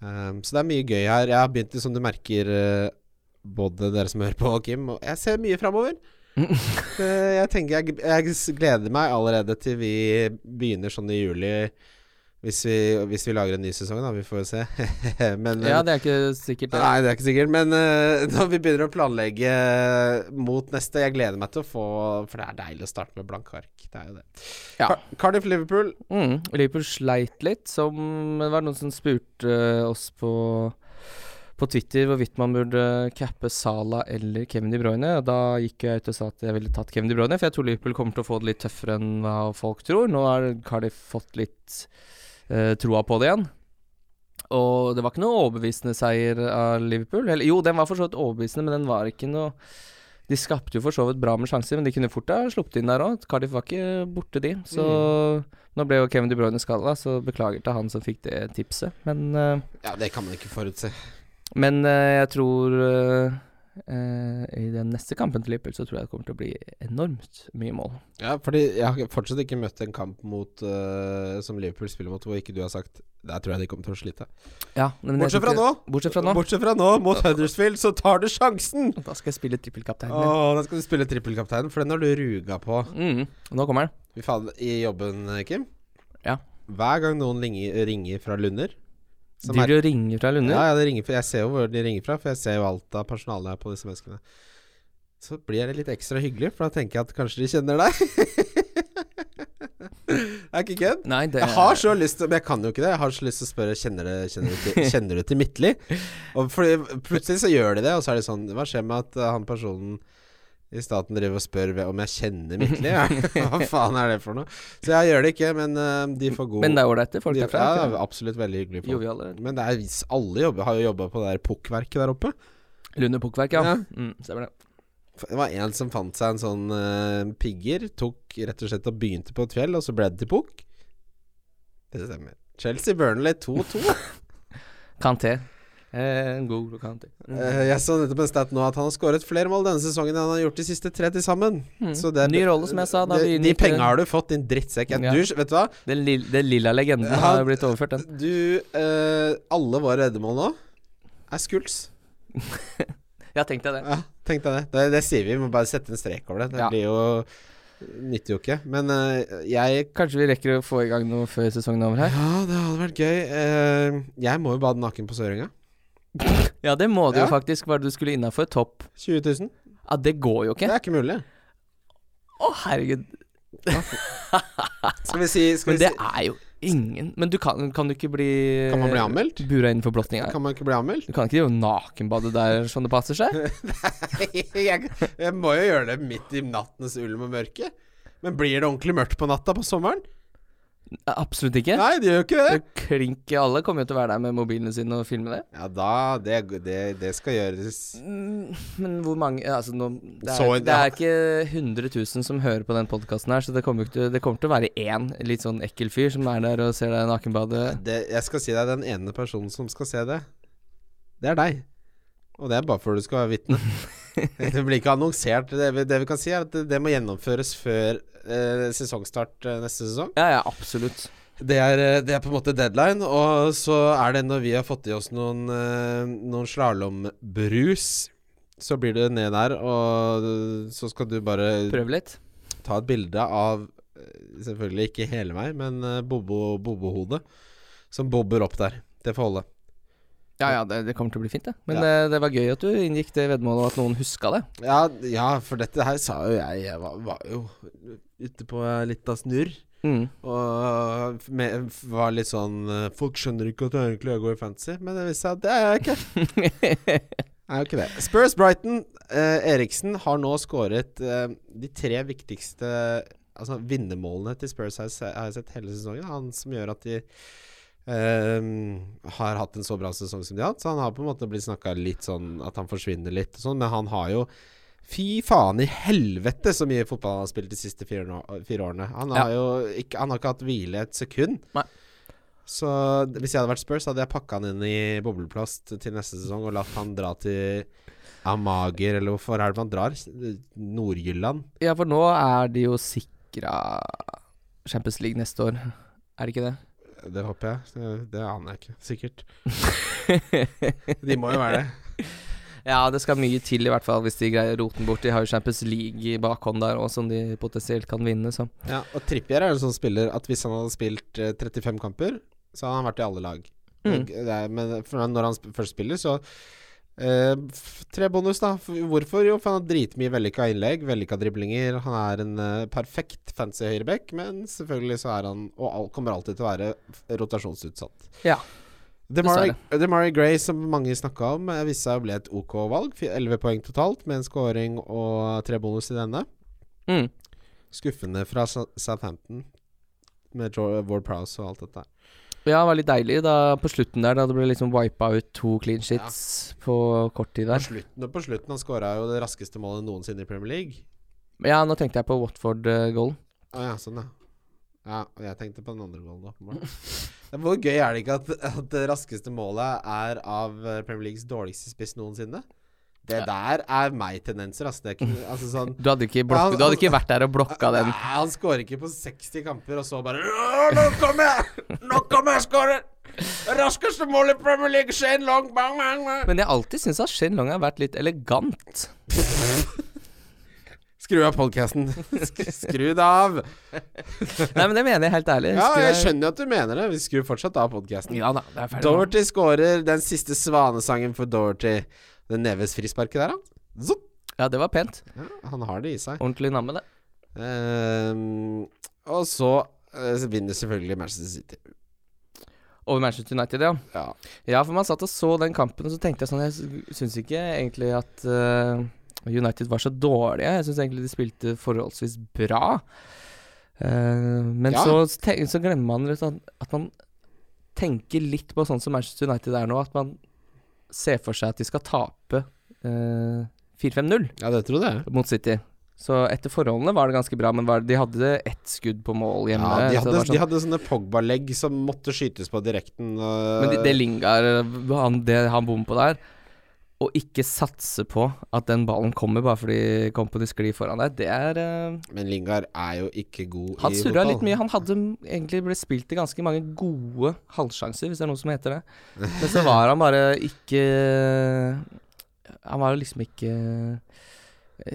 Speaker 3: Eh, så det er mye gøy her. Jeg har begynt, som du merker, eh, både dere som hører på, og Kim, og jeg ser mye *laughs* framover. Eh, Jeg tenker jeg, jeg s- gleder meg allerede til vi begynner sånn i juli. Hvis vi, hvis vi lager en ny sesong, da. Vi får jo se. *laughs* Men
Speaker 2: Ja, det er ikke sikkert, det.
Speaker 3: Nei, det er ikke sikkert. Men eh, *laughs* når vi begynner å planlegge mot neste Jeg gleder meg til å få For det er deilig å starte med blanke ark. Det er jo det.
Speaker 2: Ja.
Speaker 3: Car- Cardiff Liverpool.
Speaker 2: Mm. Liverpool sleit litt, som det var noen som spurte eh, oss på på Twitter hvorvidt man burde cappe Sala eller Kevin De Bruyne. Og da gikk jeg ut og sa at jeg ville tatt Kevin De Bruyne, for jeg tror Liverpool kommer til å få det litt tøffere enn hva folk tror. Nå har Cardiff fått litt eh, troa på det igjen. Og det var ikke noe overbevisende seier av Liverpool. Eller, jo, den var for så vidt overbevisende, men den var ikke noe De skapte jo for så vidt bra med sjanser, men de kunne fort ha sluppet inn der òg. Cardiff var ikke borte, de. Så nå ble jo Kevin De Bruyne skada, så beklager til han som fikk det tipset. Men eh,
Speaker 3: Ja, det kan man ikke forutse.
Speaker 2: men eh, jeg tror eh, eh, I den neste kampen til Liverpool så tror jeg det kommer til å bli enormt mye mål.
Speaker 3: Ja, fordi jeg har fortsatt ikke møtt en kamp mot eh, som Liverpool spiller mot, hvor ikke du har sagt Der tror jeg de kommer til å slite.
Speaker 2: Ja, men jeg
Speaker 3: Bortsett fra
Speaker 2: tror
Speaker 3: nå!
Speaker 2: ikke- Bortsett fra nå.
Speaker 3: Bortsett fra nå, mot Huddersfield, så tar du sjansen!
Speaker 2: Da skal jeg spille trippelkaptein.
Speaker 3: Å, da skal du spille trippelkaptein, for den har du ruga på
Speaker 2: Mm, nå kommer den.
Speaker 3: Fy faen, i jobben, Kim.
Speaker 2: Ja.
Speaker 3: Hver gang noen ringer, ringer fra Lunder som er-
Speaker 2: Driver og ringer fra Lunde.
Speaker 3: Ja, ja, det ringer, fra- jeg ser jo hvor de ringer fra, for jeg ser jo alt av personalet her på disse menneskene. Så blir det litt ekstra hyggelig, for da tenker jeg at kanskje de kjenner deg. *laughs* det er ikke kødd.
Speaker 2: Nei, det
Speaker 3: Jeg har så lyst til Men jeg kan jo ikke det. Jeg har så lyst til å spørre Kjenner du, kjenner du, til, kjenner du til Midtly. Og fordi plutselig så gjør de det, og så er det sånn Hva skjer med at eh, han personen i staten driver og spør ve- om jeg kjenner
Speaker 2: *laughs*
Speaker 3: Midtly? Hva faen er det for noe? Så jeg gjør det ikke, men eh, de får god
Speaker 2: Men det er ålreite folk
Speaker 3: de,
Speaker 2: derfra.
Speaker 3: ja,
Speaker 2: ikke
Speaker 3: det er absolutt veldig hyggelige
Speaker 2: det?
Speaker 3: folk.
Speaker 2: Joviale.
Speaker 3: Men det er, alle jobber, har jo jobba på det der pukkverket der oppe.
Speaker 2: Lunde pukkverk, ja.
Speaker 3: Ja.
Speaker 2: Mm, stemmer det.
Speaker 3: Det var en som fant seg en sånn eh, pigger, tok rett og slett og begynte på et fjell, og så ble det til pukk. Det stemmer. Chelsea-Burnley 2-2.
Speaker 2: Kanté. Eh, en god god kanté. Mm.
Speaker 3: Eh, jeg så nettopp en stat nå at han har skåret flere mål denne sesongen enn han har gjort de siste tre til sammen.
Speaker 2: Mm.
Speaker 3: Så det er-
Speaker 2: Ny rolle, som jeg sa. Da
Speaker 3: de,
Speaker 2: vi
Speaker 3: de
Speaker 2: inngikk-
Speaker 3: penga har du fått, din drittsekk. Jeg-
Speaker 2: Ja.
Speaker 3: Du, vet du hva?
Speaker 2: Den, lille, den lilla legenden
Speaker 3: Ja.
Speaker 2: har blitt overført, den.
Speaker 3: Du eh, Alle våre reddemål nå er skuls.
Speaker 2: Ja, tenk deg det.
Speaker 3: Ja, tenk deg det. det. Det sier vi. Vi må bare sette en strek over det. Det
Speaker 2: Ja.
Speaker 3: blir jo Nytter jo ikke. Men eh, jeg
Speaker 2: Kanskje vi rekker å få i gang noe før sesongen er over her?
Speaker 3: Ja, det hadde vært gøy. Eh, jeg må jo bade naken på Sørenga.
Speaker 2: Ja, det må du jo
Speaker 3: Ja.
Speaker 2: faktisk. Hva er det du skulle innafor? Topp?
Speaker 3: 20 000.
Speaker 2: Ja, det går jo
Speaker 3: Det
Speaker 2: ikke.
Speaker 3: er ikke mulig.
Speaker 2: Å, herregud.
Speaker 3: Skal vi si, skal
Speaker 2: Men
Speaker 3: vi
Speaker 2: det
Speaker 3: si
Speaker 2: er jo ingen Men du kan, kan du ikke bli
Speaker 3: Kan man bli anmeldt?
Speaker 2: Bura innenfor blottinga?
Speaker 3: Kan man ikke bli anmeldt?
Speaker 2: Du kan ikke drive og nakenbade der som det passer seg?
Speaker 3: *laughs* jeg, jeg må jo gjøre det midt i nattens ulm og mørke. Men blir det ordentlig mørkt på natta på sommeren?
Speaker 2: Absolutt ikke.
Speaker 3: Nei, det gjør jo ikke det.
Speaker 2: Klink i alle kommer jo til å være der med mobilene sine og filme det.
Speaker 3: Ja, da Det, det, det skal gjøres
Speaker 2: Mm, Men hvor mange Altså, nå Det er,
Speaker 3: Så en-
Speaker 2: det er ikke 100 000 som hører på den podkasten her, så det kommer, jo ikke til, det kommer til å være én litt sånn ekkel fyr som er der og ser deg nakenbade.
Speaker 3: det, Jeg skal si deg den ene personen som skal se det. Det er deg. Og det er bare for du skal være vitne. det blir ikke annonsert. Det, vi- det vi kan si, er at det, det må gjennomføres før eh, sesongstart eh, neste sesong.
Speaker 2: Ja, ja, absolutt.
Speaker 3: Det er, eh, det er på en måte deadline, og så er det når vi har fått i oss noen, eh, noen slalåmbrus, så blir det ned der, og eh, så skal du bare
Speaker 2: Prøv litt.
Speaker 3: ta et bilde av eh, Selvfølgelig ikke hele meg, men eh, bobo- bobohodet som bobber opp der. Det får holde.
Speaker 2: Ja ja, det, det kommer til å bli fint, det. Men
Speaker 3: Ja.
Speaker 2: eh, det var gøy at du inngikk det veddemålet, og at noen huska det.
Speaker 3: Ja, ja, for dette her sa jo jeg Jeg var, var jo ute på litt av snurr.
Speaker 2: Mm.
Speaker 3: Og med, var litt sånn eh, Folk skjønner ikke at jeg egentlig går i fantasy, men det viste seg at det er jeg ikke. Jeg er jo ikke det. Spurs Brighton. Eh, Eriksen har nå skåret eh, de tre viktigste altså, vinnermålene til Spurs har jeg, se, har jeg sett hele sesongen. Han som gjør at de eh, har hatt en så bra sesong som de har hatt. Så han har på en måte blitt snakka litt sånn at han forsvinner litt og sånn, men han har jo Fy faen i helvete så mye fotball han har spilt de siste fire, nå- fire årene. Han har jo ikke, han har ikke hatt hvile et sekund.
Speaker 2: Nei.
Speaker 3: Så d- hvis jeg hadde vært Spurs, hadde jeg pakka han inn i bobleplast til neste sesong og latt han dra til Amager, eller hvorfor er det man drar? Nord-Jylland?
Speaker 2: Ja, for nå er de jo sikra Champions League neste år, er det ikke det?
Speaker 3: Det håper jeg. Det- Det aner jeg ikke. Sikkert. De må jo være det.
Speaker 2: Ja, det skal mye til i hvert fall hvis de greier roten bort. De har jo Champions League i bakhånd der òg, som de potensielt kan vinne, så
Speaker 3: Ja, og Trippier er jo en sånn spiller at hvis han hadde spilt eh, 35 kamper, så hadde han vært i alle lag.
Speaker 2: Mm.
Speaker 3: Det er, men for når han sp- først spiller, så eh, f- Tre bonus, da. F- Hvorfor? Jo, for han har dritmye vellykka innlegg, vellykka driblinger. Han er en eh, perfekt fancy høyreback, men selvfølgelig så er han, og all, kommer alltid til å være, f- rotasjonsutsatt.
Speaker 2: Ja.
Speaker 3: Demari, Demari Gray, som mange snakka om, eh, viste seg å bli et OK valg. Fi- 11 poeng totalt, med en scoring og tre bonus i denne.
Speaker 2: mm.
Speaker 3: Skuffende fra Sa- Southampton med Jo- Ward Prowse og alt dette.
Speaker 2: Ja, det var litt deilig da på slutten der, da det ble liksom wipa ut to clean shits på kort tid
Speaker 3: På
Speaker 2: der.
Speaker 3: slutten, og på slutten han skåra jo det raskeste målet noensinne i Premier League.
Speaker 2: Ja, nå tenkte jeg på Watford-goalen.
Speaker 3: Å ja, sånn ja. Ja, og jeg tenkte på den andre goalen, åpenbart.
Speaker 2: *laughs*
Speaker 3: Men Hvor gøy er det ikke at, at det raskeste målet er av eh, Premier Leagues dårligste spiss noensinne? Det der er meg-tendenser, altså. Det er ikke, altså sånn
Speaker 2: *laughs* Du hadde ikke, blokk-
Speaker 3: Ja,
Speaker 2: du hadde ikke vært der og blokka den.
Speaker 3: Nei, han skårer ikke på 60 kamper, og så bare «Åh, Nå kommer jeg! Nå kommer jeg og skårer! Raskeste mål i Premier League! Shane Long! Bang, bang, bang!
Speaker 2: Men jeg har alltid syntes at Shen Long har vært litt elegant.
Speaker 3: Skru av
Speaker 2: *laughs*
Speaker 3: podkasten. Skru det av.
Speaker 2: Nei, men det mener jeg helt ærlig.
Speaker 3: Ja, jeg
Speaker 2: Skulle
Speaker 3: skjønner jo at du mener det. Vi skrur fortsatt av podkasten.
Speaker 2: Ja da, det er ferdig. nå.
Speaker 3: Dorothy scorer den siste svanesangen for Dorothy. Det neves frisparket der, han. Zopp.
Speaker 2: Ja, det var pent.
Speaker 3: Ja, han har det i seg.
Speaker 2: Ordentlig namme, det.
Speaker 3: Ehm, og så eh, så vinner selvfølgelig Manchester City.
Speaker 2: Over Manchester United, ja.
Speaker 3: Ja.
Speaker 2: Ja, for man satt og så den kampen, og så tenkte jeg sånn Jeg syns ikke egentlig at eh, United var så dårlige. Jeg syns egentlig de spilte forholdsvis bra. Eh, men
Speaker 3: Ja.
Speaker 2: så, te- så glemmer man litt at, at man tenker litt på sånn som Manchester United er nå, at man ser for seg at de skal tape eh, 4-5-0
Speaker 3: ja, det trodde jeg.
Speaker 2: mot City. Så etter forholdene var det ganske bra, men var, de hadde ett skudd på mål
Speaker 3: Ja,
Speaker 2: hjemme.
Speaker 3: de,
Speaker 2: så det
Speaker 3: hadde,
Speaker 2: var sånn-
Speaker 3: de hadde sånne Pogba-legg som måtte skytes på direkten. eh, og-
Speaker 2: Men det, det Lingard han, Det han bommer på der Å ikke satse på at den ballen kommer bare fordi Company sklir foran deg, det er eh,
Speaker 3: Men Lingard er jo ikke god
Speaker 2: Han
Speaker 3: i
Speaker 2: surra
Speaker 3: fotball.
Speaker 2: litt mye. Han hadde egentlig blitt spilt til ganske mange gode halvsjanser, hvis det er noe som heter det. Men så var han bare ikke Han var jo liksom ikke eh,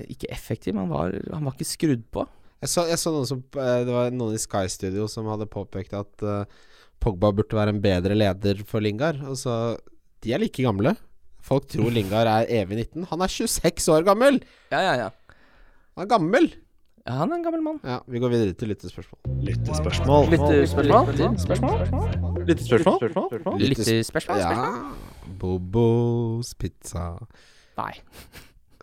Speaker 2: ikke effektiv, men han var, han var ikke skrudd på.
Speaker 3: Jeg så, jeg så noen som eh, Det var noen i Sky Studio som hadde påpekt at eh, Pogba burde være en bedre leder for Lingard. Og så De er like gamle. Folk tror Lingard er evig 19. Han er 26 år gammel!
Speaker 2: Ja, ja, ja.
Speaker 3: Han er gammel!
Speaker 2: ja han er en gammel mann.
Speaker 3: Ja, Vi går videre til lyttespørsmål.
Speaker 4: Lyttespørsmål.
Speaker 2: Lyttespørsmål?
Speaker 4: Lyttespørsmål?
Speaker 2: Lyttespørsmål?
Speaker 3: Ja. Bobos pizza.
Speaker 2: Nei.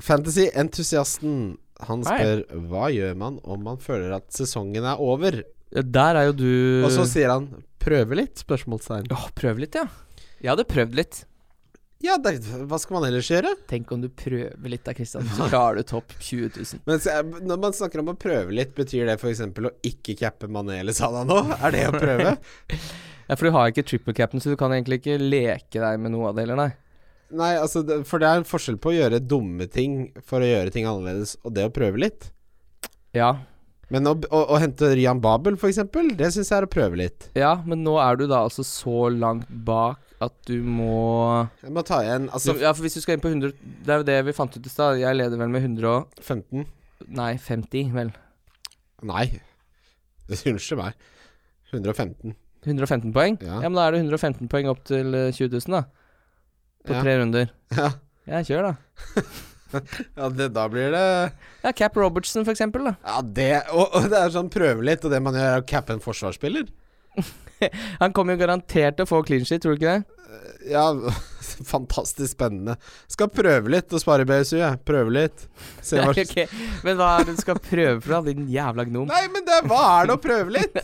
Speaker 3: Fantasy-entusiasten. Han
Speaker 2: Hei.
Speaker 3: spør hva gjør man om man føler at sesongen er over?
Speaker 2: Ja, Eh, Der er jo du
Speaker 3: Og så sier han prøve litt? spørsmålstegn
Speaker 2: Åh, prøv litt, ja. Jeg hadde prøvd litt.
Speaker 3: Ja, det, hva skal man ellers gjøre?
Speaker 2: Tenk om du prøver litt da, *laughs* Kristian, så klarer du topp 20 000.
Speaker 3: Men se, når man snakker om å prøve litt, betyr det f.eks. å ikke cappe Mané eller Salah nå? Er det å *laughs* prøve?
Speaker 2: Ja, for du har ikke triple cap'n, så du kan egentlig ikke leke deg med noe av det heller, nei.
Speaker 3: Nei, altså, det- for det er en forskjell på å gjøre dumme ting for å gjøre ting annerledes, og det å prøve litt.
Speaker 2: Ja.
Speaker 3: Men å, å, å hente Rian Babel, f.eks., det syns jeg er å prøve litt.
Speaker 2: ja, men nå er du da altså så langt bak at du må
Speaker 3: Jeg må ta igjen
Speaker 2: du,
Speaker 3: altså
Speaker 2: Ja, for hvis du skal inn på 100 Det er jo det vi fant ut i stad. Jeg leder vel med 100 og
Speaker 3: 15
Speaker 2: Nei, 50, vel.
Speaker 3: Nei. *laughs* Unnskyld meg. 115.
Speaker 2: 115 poeng?
Speaker 3: Ja.
Speaker 2: Ja, men da er det 115 poeng opp til eh, 20 000, da. på
Speaker 3: Ja.
Speaker 2: tre runder.
Speaker 3: Ja,
Speaker 2: Ja, kjør, da.
Speaker 3: ja det, da blir det
Speaker 2: Ja, Cap Robertson, for eksempel. Da.
Speaker 3: Ja, det Og, og det er sånn prøve litt, og det man gjør, er å cappe en forsvarsspiller.
Speaker 2: Han kommer jo garantert til å få clean sheet, tror du ikke det?
Speaker 3: Ja, *laughs* fantastisk spennende. Skal prøve litt å spare BSU, jeg. Prøve litt. Se hva
Speaker 2: Nei, *laughs* ok. Men hva er det du skal prøve for, da, din jævla gnom?
Speaker 3: Nei, men det, hva er det å prøve litt?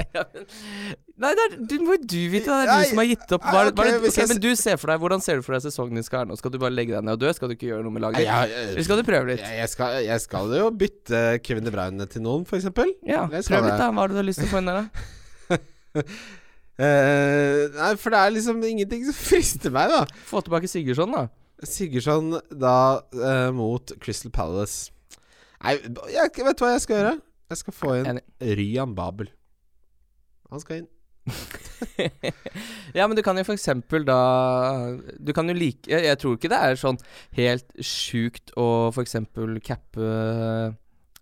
Speaker 2: Nei, det er, du må jo du vite det. Det
Speaker 3: Nei,
Speaker 2: er du som har gitt opp.
Speaker 3: nei,
Speaker 2: Hva, er det- hva er
Speaker 3: ok,
Speaker 2: det,
Speaker 3: hvis jeg
Speaker 2: ok, men du ser for deg Hvordan ser du for deg sesongen din skal være nå? Skal du bare legge deg ned og dø? Skal du ikke gjøre noe med laget?
Speaker 3: Nei, jeg-
Speaker 2: Eller skal du prøve litt?
Speaker 3: *laughs* Jeg, jeg, skal, jeg skal jo bytte Kevin De Bruyne til noen, f.eks.
Speaker 2: Ja,
Speaker 3: jeg skal
Speaker 2: prøv litt,
Speaker 3: det.
Speaker 2: da. Hva har du har lyst til å få inn
Speaker 3: *laughs*
Speaker 2: der, da?
Speaker 3: Eh, nei, for det er liksom ingenting som *laughs* frister meg, da.
Speaker 2: Få tilbake Sigurdsson, da.
Speaker 3: Sigurdsson da eh, mot Crystal Palace. Nei, jeg, vet du hva jeg skal gjøre? Jeg skal få inn
Speaker 2: Enig.
Speaker 3: Ryan Babel. Han skal inn.
Speaker 2: Ja, men du kan jo for eksempel da Du kan jo like Jeg, jeg tror ikke det er sånn helt sjukt å for eksempel cappe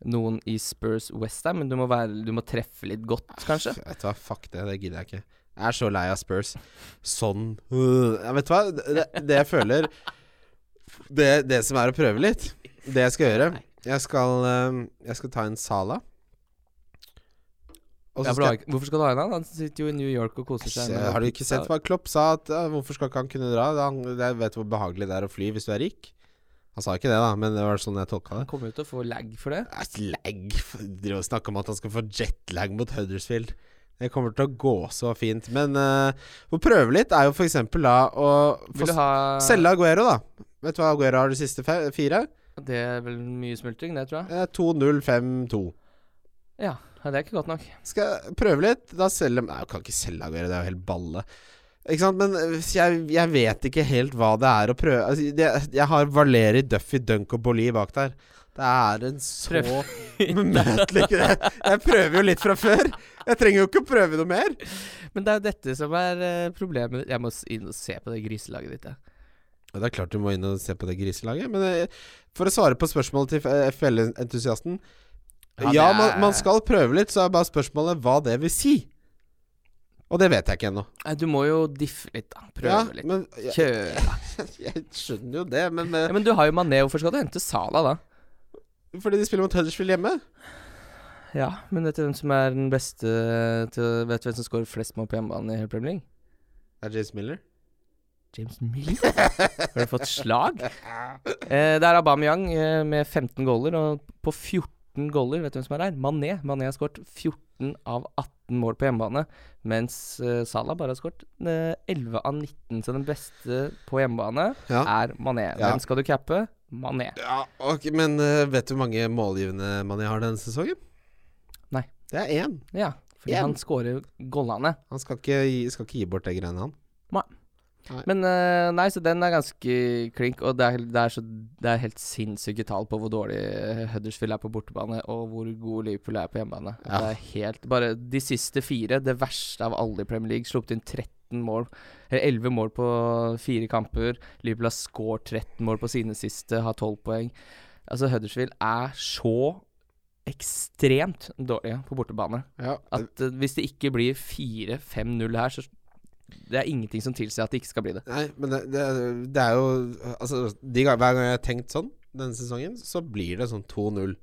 Speaker 2: noen i Spurs Westham, men du må, være, du må treffe litt godt, kanskje.
Speaker 3: Vet du hva, fuck det. Det gidder jeg ikke. Jeg er så lei av Spurs. Sånn øh, ja, Vet du hva, det, det jeg føler det, det som er å prøve litt, det jeg skal gjøre Jeg skal, eh, jeg skal ta en Sala. Og
Speaker 2: Ja,
Speaker 3: så skal
Speaker 2: for du har
Speaker 3: jeg
Speaker 2: ikke, hvorfor altså, skal du ha en annen? Han sitter jo i New York og koser seg. med
Speaker 3: Har du ikke
Speaker 2: pizza.
Speaker 3: sett hva Klopp sa? At, ja, hvorfor skal ikke han kunne dra? Han, jeg vet hvor behagelig det er å fly hvis du er rik. Han sa ikke det, da, men det var sånn jeg tolka
Speaker 2: Han
Speaker 3: det.
Speaker 2: kommer jo til å få lag for det.
Speaker 3: Nei, Lag Driver og snakker om at han skal få jetlag mot Huddersfield. Det kommer til å gå så fint. Men eh, å prøve litt er jo f.eks. da å få
Speaker 2: Vil du ha
Speaker 3: selge Aguero, da. Vet du hva Aguero har de siste fe fire?
Speaker 2: Det er vel mye smultring, det, tror jeg.
Speaker 3: Eh, 2-0-5-2.
Speaker 2: Ja, det er ikke godt nok.
Speaker 3: Skal jeg prøve litt? Da selger Nei, jeg kan ikke selge Aguero, det er jo helt balle. Ikke sant? Men øh, jeg, jeg vet ikke helt hva det er å prøve altså, det, Jeg har Valeri, Duffy, Dunk og Bolli bak der. Det er en så umøtelig greie. Jeg prøver jo litt fra før. Jeg trenger jo ikke å prøve noe mer.
Speaker 2: Men det er jo dette som er eh, problemet. Jeg må s- inn og se på det griselaget ditt, jeg.
Speaker 3: Ja, Det er klart du må inn og se på det griselaget, men eh, for å svare på spørsmålet til eh, FL-entusiasten Ja,
Speaker 2: Ja, det er-
Speaker 3: man, man skal prøve litt, så er bare spørsmålet hva det vil si. Og det vet jeg ikke ennå.
Speaker 2: Nei, du må jo diffe litt, da. Prøve
Speaker 3: Ja,
Speaker 2: litt.
Speaker 3: men jeg-
Speaker 2: Kjøre.
Speaker 3: *laughs* Jeg skjønner jo det, men
Speaker 2: Ja, men du har jo Mané, hvorfor skal du hente Sala da?
Speaker 3: eh, Fordi de spiller mot Huddersfield hjemme?
Speaker 2: Ja, men vet du hvem som er den beste til Vet du hvem som scorer flest mål på hjemmebane i hele Premier League?
Speaker 3: Det er James Miller.
Speaker 2: James Miller? Har du fått slag? Eh, det er Aubameyang eh, med 15 goaler, og på 14 goaler, vet du hvem som er her? Mané. Mané har skåret 14 av 18 mål på hjemmebane, mens eh, Salah bare har skåret eh, 11 av 19, så den beste på hjemmebane
Speaker 3: Ja.
Speaker 2: er Mané.
Speaker 3: Ja.
Speaker 2: Hvem skal du cappe? Mané.
Speaker 3: ja ok, men eh, vet du hvor mange målgivende man har denne sesongen?
Speaker 2: Nei.
Speaker 3: Det er én.
Speaker 2: Ja, fordi
Speaker 3: Ja.
Speaker 2: han scorer gollene.
Speaker 3: Han skal ikke, gi- skal ikke gi bort det greiene, han.
Speaker 2: Men eh, nei, så den er ganske klink, og det er, det er, så, det er helt sinnssyke tall på hvor dårlig eh, Huddersfield er på bortebane, og hvor god Liverpool er på hjemmebane.
Speaker 3: Ja.
Speaker 2: Det er helt Bare de siste fire, det verste av alle i Premier League, sluppet inn 13 mål, eller 11 mål på fire kamper. Liverpool har scoret 13 mål på sine siste, har 12 poeng. Altså, Huddersfield er så ekstremt dårlige på bortebane.
Speaker 3: Ja.
Speaker 2: At eh, hvis det ikke blir 4-5-0 her, så det er ingenting som tilsier at det ikke skal bli det.
Speaker 3: Nei, men det, det, det er jo Altså, de, ga- hver gang jeg har tenkt sånn denne sesongen, så blir det sånn 2-0.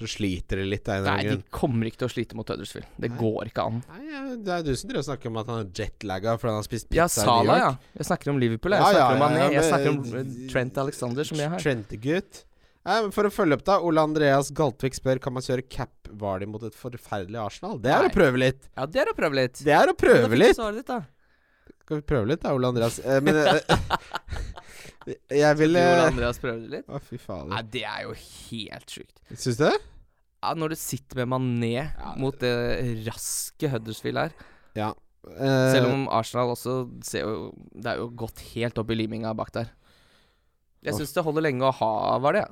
Speaker 3: Så sliter det litt av en eller
Speaker 2: Nei,
Speaker 3: annen
Speaker 2: de
Speaker 3: grunn.
Speaker 2: kommer ikke til å slite mot Huddersfield. Det
Speaker 3: Nei.
Speaker 2: går ikke an.
Speaker 3: Nei, ja, det er du som driver og snakker om at han er jetlagga fordi han har spist pizza
Speaker 2: Ja, Sala, ja. Jeg snakker om Liverpool. Jeg
Speaker 3: Ja,
Speaker 2: snakker
Speaker 3: ja,
Speaker 2: om Mané.
Speaker 3: ja,
Speaker 2: Jeg
Speaker 3: men-
Speaker 2: snakker om eh, Trent Alexander, som jeg har.
Speaker 3: Trente-gutt. Nei, men For å følge opp, da. Ole Andreas Galtvik spør Kan man kjøre cap Vardy mot et forferdelig Arsenal. Det er
Speaker 2: Nei.
Speaker 3: å prøve litt!
Speaker 2: Ja, det er å prøve litt.
Speaker 3: Det er å
Speaker 2: Men da
Speaker 3: prøve
Speaker 2: fikk du
Speaker 3: litt!
Speaker 2: Svaret ditt, da.
Speaker 3: Skal vi prøve litt, da, Ole Andreas? Eh, *laughs* men eh, Jeg
Speaker 2: Du,
Speaker 3: vil
Speaker 2: Ole
Speaker 3: eh,
Speaker 2: Andreas prøvde litt.
Speaker 3: Å, fy
Speaker 2: Nei,
Speaker 3: fader.
Speaker 2: det er jo helt sjukt.
Speaker 3: Syns du det?
Speaker 2: Ja, når du sitter med Mané
Speaker 3: Ja.
Speaker 2: mot det raske Huddersfield her
Speaker 3: Ja. Eh.
Speaker 2: Selv om Arsenal også ser jo Det er jo gått helt opp i liminga bak der. Jeg syns det holder lenge å ha var det.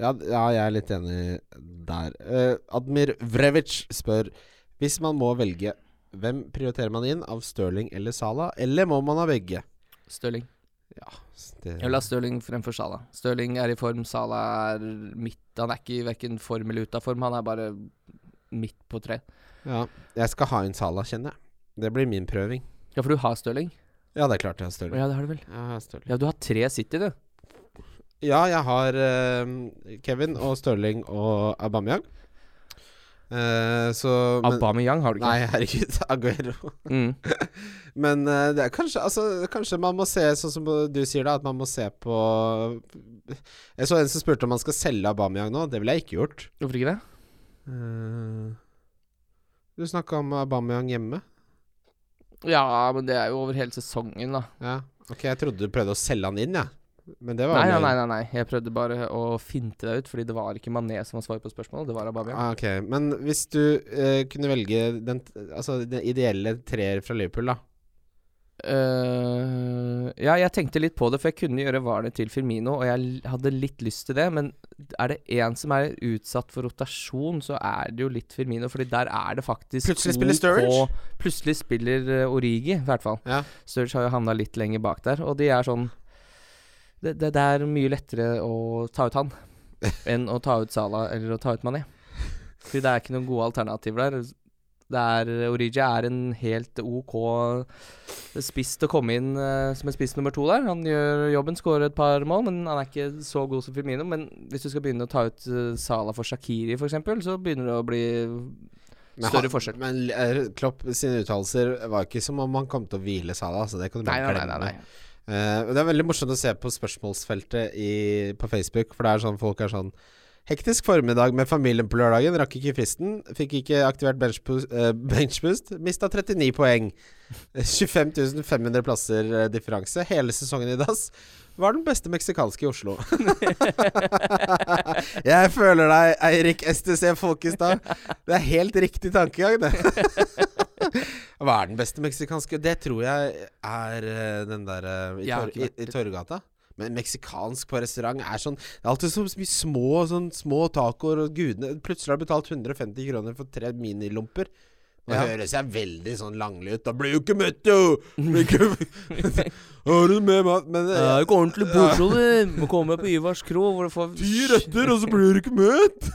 Speaker 3: Ja, d- ja, jeg er litt enig der. Eh, Admir Vrevic spør Hvis man må velge, hvem prioriterer man inn av Stirling eller Sala, eller må man ha begge?
Speaker 2: Stirling.
Speaker 3: Det,
Speaker 2: Jeg vil ha Stirling fremfor Sala. Stirling er i form, Sala er midt. Han er ikke i verken form eller ut av form, han er bare midt på tre.
Speaker 3: ja, jeg skal ha inn Sala, kjenner jeg. Det blir min prøving.
Speaker 2: Ja, for du har Stirling?
Speaker 3: Ja, det er klart jeg har Stirling.
Speaker 2: Ja, det har du vel.
Speaker 3: Ja, jeg har Stirling.
Speaker 2: Ja, du har tre City, du.
Speaker 3: Ja, jeg har eh, Kevin og Stirling og Aubameyang. Eh, så men-
Speaker 2: Aubameyang har du ikke.
Speaker 3: Nei, herregud. *laughs* Aguero.
Speaker 2: Mm.
Speaker 3: Men eh, det er kanskje, altså, kanskje man må se, sånn som du sier da, at man må se på Jeg så en som spurte om man skal selge Aubameyang nå. Det ville jeg ikke gjort.
Speaker 2: Hvorfor ikke det?
Speaker 3: Eh, du snakka om Aubameyang hjemme.
Speaker 2: Ja, men det er jo over hele sesongen, da.
Speaker 3: Ja, ok, jeg trodde du prøvde å selge han inn, Ja. Men det var
Speaker 2: Nei,
Speaker 3: jo
Speaker 2: nei,
Speaker 3: mer-
Speaker 2: nei, nei, nei. Jeg prøvde bare å finte deg ut, fordi det var ikke Mané som var svaret på spørsmålet, det var Aubameyang.
Speaker 3: Ah, ok, Men hvis du eh, kunne velge den, altså, den ideelle treer fra Liverpool, da.
Speaker 2: Eh, ja, jeg tenkte litt på det, for jeg kunne gjøre Varner til Firmino, og jeg l- hadde litt lyst til det, men er det én som er utsatt for rotasjon, så er det jo litt Firmino, fordi der er det faktisk
Speaker 3: Plutselig
Speaker 2: to
Speaker 3: spiller Sturridge?
Speaker 2: på- Plutselig spiller eh, Origi, i hvert fall.
Speaker 3: Ja.
Speaker 2: Sturridge har jo havna litt lenger bak der, og de er sånn det, det, det er mye lettere å ta ut han enn å ta ut Salah eller å ta ut Mané. Fordi det er ikke noen gode alternativer der. Det er, Origi er en helt OK spiss til å komme inn eh, som en spiss nummer to der. Han gjør jobben, skårer et par mål, men han er ikke så god som Firmino. Men hvis du skal begynne å ta ut eh, Salah for Shakiri f.eks., så begynner det å bli Større
Speaker 3: han-
Speaker 2: forskjell.
Speaker 3: Men eh, Klopp sine uttalelser var ikke som om han kom til å hvile Salah, så det kan du
Speaker 2: Nei,
Speaker 3: bare
Speaker 2: nei,
Speaker 3: glemme.
Speaker 2: nei. nei, nei.
Speaker 3: Eh, og det er veldig morsomt å se på spørsmålsfeltet i, på Facebook, for det er sånn folk er sånn Hektisk formiddag med familien på lørdagen, rakk ikke fristen. Fikk ikke aktivert benchboost, uh, benchboost mista 39 poeng. 25 500 plasser eh, differanse. Hele sesongen i dass. Var den beste meksikanske i Oslo. *laughs* Jeg føler deg, Eirik STC Folkestad. Det er helt riktig tankegang, det. *laughs* Hva er den beste meksikanske? Det tror jeg er eh, den der eh, i,
Speaker 2: Jeg
Speaker 3: tor
Speaker 2: har ikke
Speaker 3: i,
Speaker 2: vært
Speaker 3: i Torgata. Men meksikansk på restaurant er sånn Det er alltid så mye små, sånn, små tacoer og gudene Plutselig har du betalt 150 kroner for tre minilomper. Nå
Speaker 2: Ja.
Speaker 3: høres jeg veldig sånn langlig ut. Da blir jo ikke møtt, jo! Blir
Speaker 2: *laughs*
Speaker 3: ikke- *laughs* Har du med mat? Men
Speaker 2: Det
Speaker 3: eh,
Speaker 2: er jo ikke ordentlig bordsrolle. Må komme på Ivars kro, hvor du får
Speaker 3: Ti retter, eh, og så blir du ikke møtt!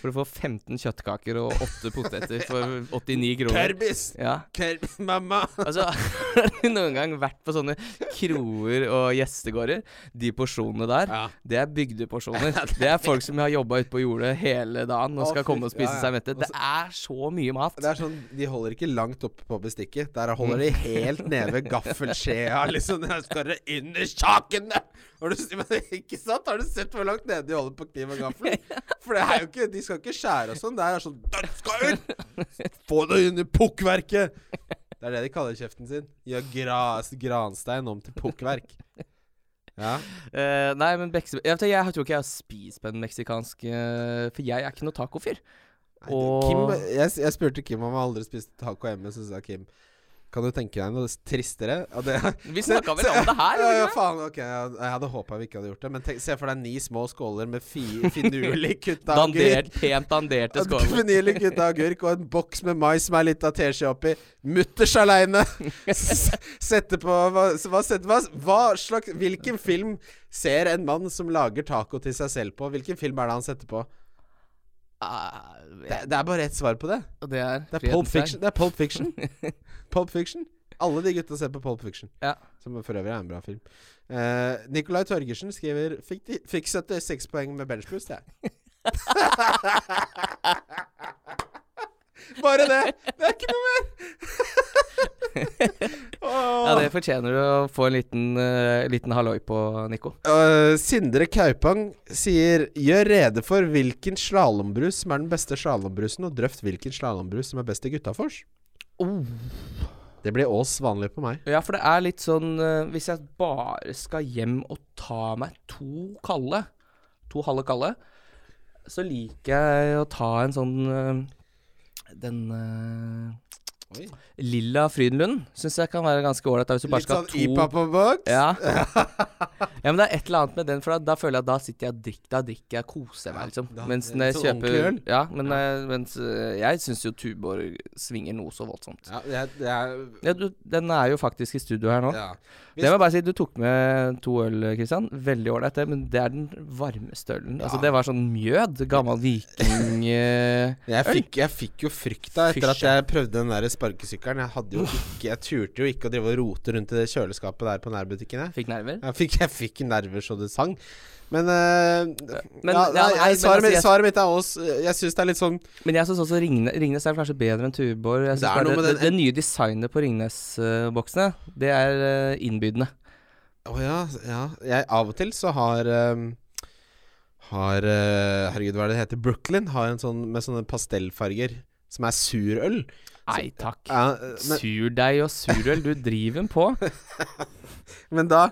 Speaker 2: For du får 15 kjøttkaker og 8 poteter for 89 kroner.
Speaker 3: Kerbis!
Speaker 2: Ja,
Speaker 3: Kerbis, mamma!
Speaker 2: altså *laughs* Har du noen gang vært på sånne kroer og gjestegårder? De porsjonene der,
Speaker 3: Ja.
Speaker 2: det er
Speaker 3: *laughs*
Speaker 2: bygdeporsjoner. Det er folk som har jobba ute på jordet hele dagen og
Speaker 3: Å,
Speaker 2: skal
Speaker 3: fy-
Speaker 2: komme og spise
Speaker 3: ja, ja.
Speaker 2: seg mette. Det er så mye mat.
Speaker 3: Det er sånn, De holder ikke langt oppe på bestikket. Der holder de helt nede ved gaffelskjea. Liksom, der skal det inn i kjakene! Har du, men ikke sant? Har du sett hvor langt nede de holder på kniv og gaffel? For det er jo ikke, de skal ikke skjære og sånn. Det er sånn Den skal ut! Få det inn i pukkverket! Det er det de kaller kjeften sin. Gjør gras, granstein om til pukkverk. Ja.
Speaker 2: Eh, nei, men Bekse, jeg, vet, ikke, jeg tror ikke jeg har spist på en meksikansk eh, For jeg er ikke noe tacofyr.
Speaker 3: Nei, det-
Speaker 2: Og-
Speaker 3: Kim, jeg, jeg spurte Kim om han aldri spiste taco hjemme, så sa Kim Kan du tenke deg noe tristere? Og det,
Speaker 2: Vi snakka vel om det her?
Speaker 3: *laughs* Ja, ja,
Speaker 2: gjorde vi ikke det?
Speaker 3: faen, ok Jeg, jeg hadde håpa vi ikke hadde gjort det, men tenk, se for deg ni små skåler med fi, *laughs* finurlig kutta agurk.
Speaker 2: Dandert, pent danderte skåler.
Speaker 3: *laughs* Finurlig kutta agurk og en boks med mais som er litt av teskje oppi. Mutters
Speaker 2: *laughs*
Speaker 3: aleine! Sette på hva, så hva, setter- hva, hva slags Hvilken film ser en mann som lager taco til seg selv på? Hvilken film er det han setter på?
Speaker 2: Ah,
Speaker 3: Det, det er bare ett svar på det.
Speaker 2: og det er,
Speaker 3: Det er Pulp
Speaker 2: frihetens
Speaker 3: Fiction. Det
Speaker 2: tegn.
Speaker 3: er Pulp
Speaker 2: *laughs*
Speaker 3: Fiction. Pulp Fiction. Alle de gutta ser på Pulp Fiction,
Speaker 2: Ja.
Speaker 3: som for øvrig er en bra film. Eh, Nicolai Torgersen skriver Fikk, de, fikk 76 poeng med benchboost, jeg. *laughs* Bare det! Det er ikke noe mer! *laughs*
Speaker 2: Ja, det fortjener du å få en liten, eh, liten halloi på, Nico.
Speaker 3: Eh, Sindre Kaupang sier Gjør rede for hvilken slalåmbrus som er den beste slalåmbrusen, og drøft hvilken slalåmbrus som er best i Guttafors.
Speaker 2: Oh.
Speaker 3: Det blir Ås vanlig på meg.
Speaker 2: Ja, for det er litt sånn eh, Hvis jeg bare skal hjem og ta meg to kalde, to halve kalde, så liker jeg å ta en sånn eh, Den eh,
Speaker 3: Oi. sånn
Speaker 2: lilla Frydenlund syns jeg kan være ganske ålreit. da, Hvis du bare
Speaker 3: Litt *laughs*
Speaker 2: skal
Speaker 3: sånn
Speaker 2: ha to
Speaker 3: IPA på boks?
Speaker 2: Ja. Ja, men det er et eller annet med den, for da, da føler jeg at da sitter jeg og drikker, da drikker jeg og koser meg,
Speaker 3: Ja,
Speaker 2: liksom.
Speaker 3: da-
Speaker 2: mens
Speaker 3: det er
Speaker 2: når jeg
Speaker 3: sånn
Speaker 2: kjøper
Speaker 3: ordentlig øl.
Speaker 2: Ja, men eh, mens eh, jeg syns jo Tuborg svinger noe så voldsomt.
Speaker 3: Ja, det er, det er
Speaker 2: Ja, du, den er jo faktisk i studio her nå.
Speaker 3: ja. Hvis-
Speaker 2: Det må jeg bare si, du tok med to øl, Kristian. Veldig ålreit, det, men det er den varmeste ølen. Altså,
Speaker 3: Ja.
Speaker 2: det var sånn mjød, gammel
Speaker 3: *laughs*
Speaker 2: viking eh,
Speaker 3: Jeg
Speaker 2: Øl?
Speaker 3: fikk, jeg fikk jo frykta etter at
Speaker 2: Fysj,
Speaker 3: jeg prøvde den der sparkesykkelen. Jeg hadde jo ikke Jeg turte jo ikke å drive og rote rundt i det kjøleskapet der på nærbutikken, jeg.
Speaker 2: Fikk nerver.
Speaker 3: Jeg fikk, jeg fikk nerver så det sang. Men, eh,
Speaker 2: Men-
Speaker 3: ja,
Speaker 2: ja,
Speaker 3: nei, svaret,
Speaker 2: nei, men altså,
Speaker 3: mitt-
Speaker 2: jeg-
Speaker 3: svaret mitt er oss. Jeg syns det er litt sånn
Speaker 2: Men jeg syns også Ringne, Ringnes er kanskje bedre enn Tuborg. Jeg
Speaker 3: Det er
Speaker 2: synes
Speaker 3: noe
Speaker 2: det,
Speaker 3: med
Speaker 2: det,
Speaker 3: den-
Speaker 2: det, nye designet på Ringnes-boksene, det er eh, innbydende.
Speaker 3: Å ja, ja. Jeg, av og til så har ehm, Har eh, Herregud, hva er det det heter? Brooklyn har en sånn med sånne pastellfarger som er surøl.
Speaker 2: Nei takk.
Speaker 3: Ja, eh, men,
Speaker 2: Surdeig og surøl, du driver den
Speaker 3: *laughs*
Speaker 2: på.
Speaker 3: men da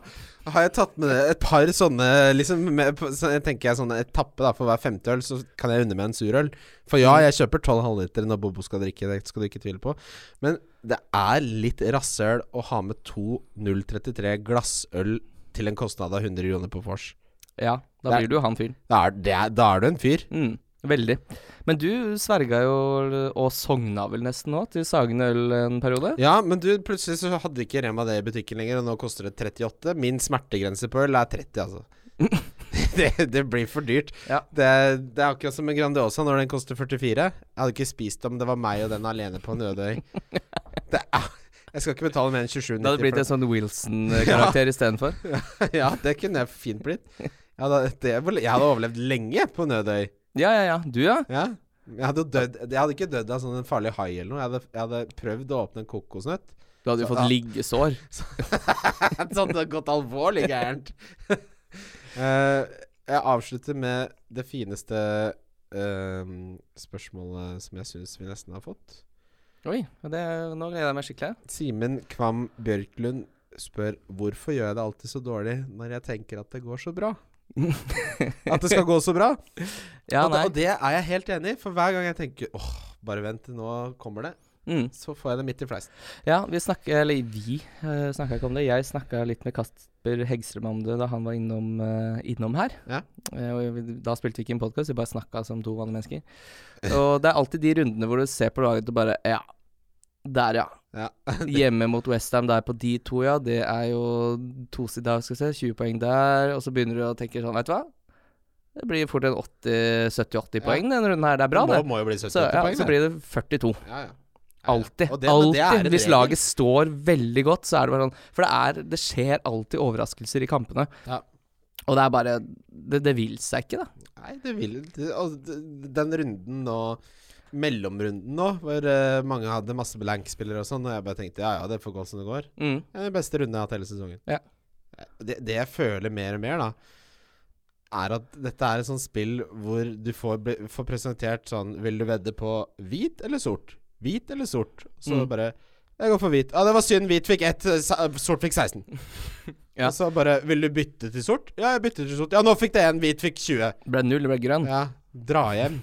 Speaker 3: har jeg tatt med et par sånne liksom med, på- så jeg tenker jeg sånne etappe da For hver femte øl så kan jeg unne meg en surøl. For ja, jeg kjøper tolv halvliter når Bobo skal drikke, det skal du ikke tvile på. Men det er litt rasshøl å ha med to 033 glassøl til en kostnad av 100 kroner på vors.
Speaker 2: Ja, da
Speaker 3: Nei.
Speaker 2: blir du han fyren.
Speaker 3: Da er, det er, da er du en fyr.
Speaker 2: Mm, veldig. Men du sverga jo, og sogna vel nesten nå, til Sagen øl en periode?
Speaker 3: Ja, men du, plutselig så hadde ikke Rema det i butikken lenger, og nå koster det 38. Min smertegrense på øl er 30, altså. *laughs* det, det blir for dyrt.
Speaker 2: Ja.
Speaker 3: Det, det er akkurat som en Grandiosa når den koster 44. Jeg hadde ikke spist om det var meg og den alene på en
Speaker 2: *laughs*
Speaker 3: ødøy. Det er, jeg skal ikke betale mer enn 27,90.
Speaker 2: Det hadde blitt
Speaker 3: for
Speaker 2: en sånn *laughs* Wilson-karakter istedenfor.
Speaker 3: det. *laughs* ja, det kunne jeg fint blitt. Jeg hadde, det, jeg hadde overlevd lenge på en ødøy.
Speaker 2: Ja, ja, ja. Du, ja.
Speaker 3: Ja. Jeg hadde, jo dødd, jeg hadde ikke dødd av sånn en farlig hai eller noe. Jeg hadde, jeg hadde prøvd å åpne en kokosnøtt.
Speaker 2: Du hadde jo fått
Speaker 3: Ja.
Speaker 2: liggesår. *laughs*
Speaker 3: sånn det har gått alvorlig *laughs* gærent. Eh, jeg avslutter med det fineste ehm, spørsmålet som jeg syns vi nesten har fått.
Speaker 2: Oi, det, nå gleder jeg meg skikkelig.
Speaker 3: Simen Kvam Bjørklund spør hvorfor gjør jeg det alltid så dårlig når jeg tenker at det går så
Speaker 2: *laughs*
Speaker 3: bra? At det skal gå så bra?
Speaker 2: Ja,
Speaker 3: og, det,
Speaker 2: nei.
Speaker 3: og det er jeg helt enig i, for hver gang jeg tenker åh, bare vent, nå kommer det,
Speaker 2: Mm.
Speaker 3: så får jeg det midt i fleisen.
Speaker 2: Ja, vi snakka Eller vi uh, snakka ikke om det. Jeg snakka litt med Kasper Hegstrøm om det da han var innom, eh, innom her.
Speaker 3: Ja.
Speaker 2: Eh, og vi- da spilte vi ikke en podkast, vi bare snakka som to vanlige mennesker. Og det er alltid de rundene hvor du ser på laget og bare Ja. Der, ja.
Speaker 3: Ja. *laughs*
Speaker 2: Hjemme mot Westham der på de to, ja. Det er jo tosida, skal vi se. 20 poeng der. Og så begynner du å tenke sånn, veit du hva. Det blir fort en 80 70-80
Speaker 3: Ja.
Speaker 2: poeng denne runden her. Det er bra,
Speaker 3: må,
Speaker 2: det.
Speaker 3: må jo bli 70
Speaker 2: Så, ja,
Speaker 3: poeng.
Speaker 2: så
Speaker 3: det.
Speaker 2: blir det 42.
Speaker 3: ja, ja.
Speaker 2: Alltid.
Speaker 3: Og det- men det er
Speaker 2: alltid.
Speaker 3: en
Speaker 2: Hvis
Speaker 3: regel.
Speaker 2: laget står veldig godt, så er det bare sånn For det, er, det skjer alltid overraskelser i kampene.
Speaker 3: Ja.
Speaker 2: Og det er bare Det, det vil seg ikke, da.
Speaker 3: Nei, det vil det, og d- Den runden nå, mellomrunden nå, hvor eh, mange hadde masse blankspillere og sånn, og jeg bare tenkte ja ja, det får gå som det går.
Speaker 2: Mm.
Speaker 3: Det er den beste runden jeg har hatt hele sesongen. Eh,
Speaker 2: Ja.
Speaker 3: Det, det jeg føler mer og mer, da, er at dette er et sånt spill hvor du får, be- får presentert sånn Vil du vedde på hvit eller sort? Hvit eller sort? Så
Speaker 2: Mm.
Speaker 3: bare Jeg går for hvit. Ja, det var synd. Hvit fikk ett, eh, sa- sort fikk 16.
Speaker 2: *laughs* Ja.
Speaker 3: Og så bare Vil du bytte til sort? Ja, jeg bytter til sort. Ja, nå fikk det én. Hvit fikk 20.
Speaker 2: Ble null, det ble grønn. Ja,
Speaker 3: Ja, Hm. dra hjem.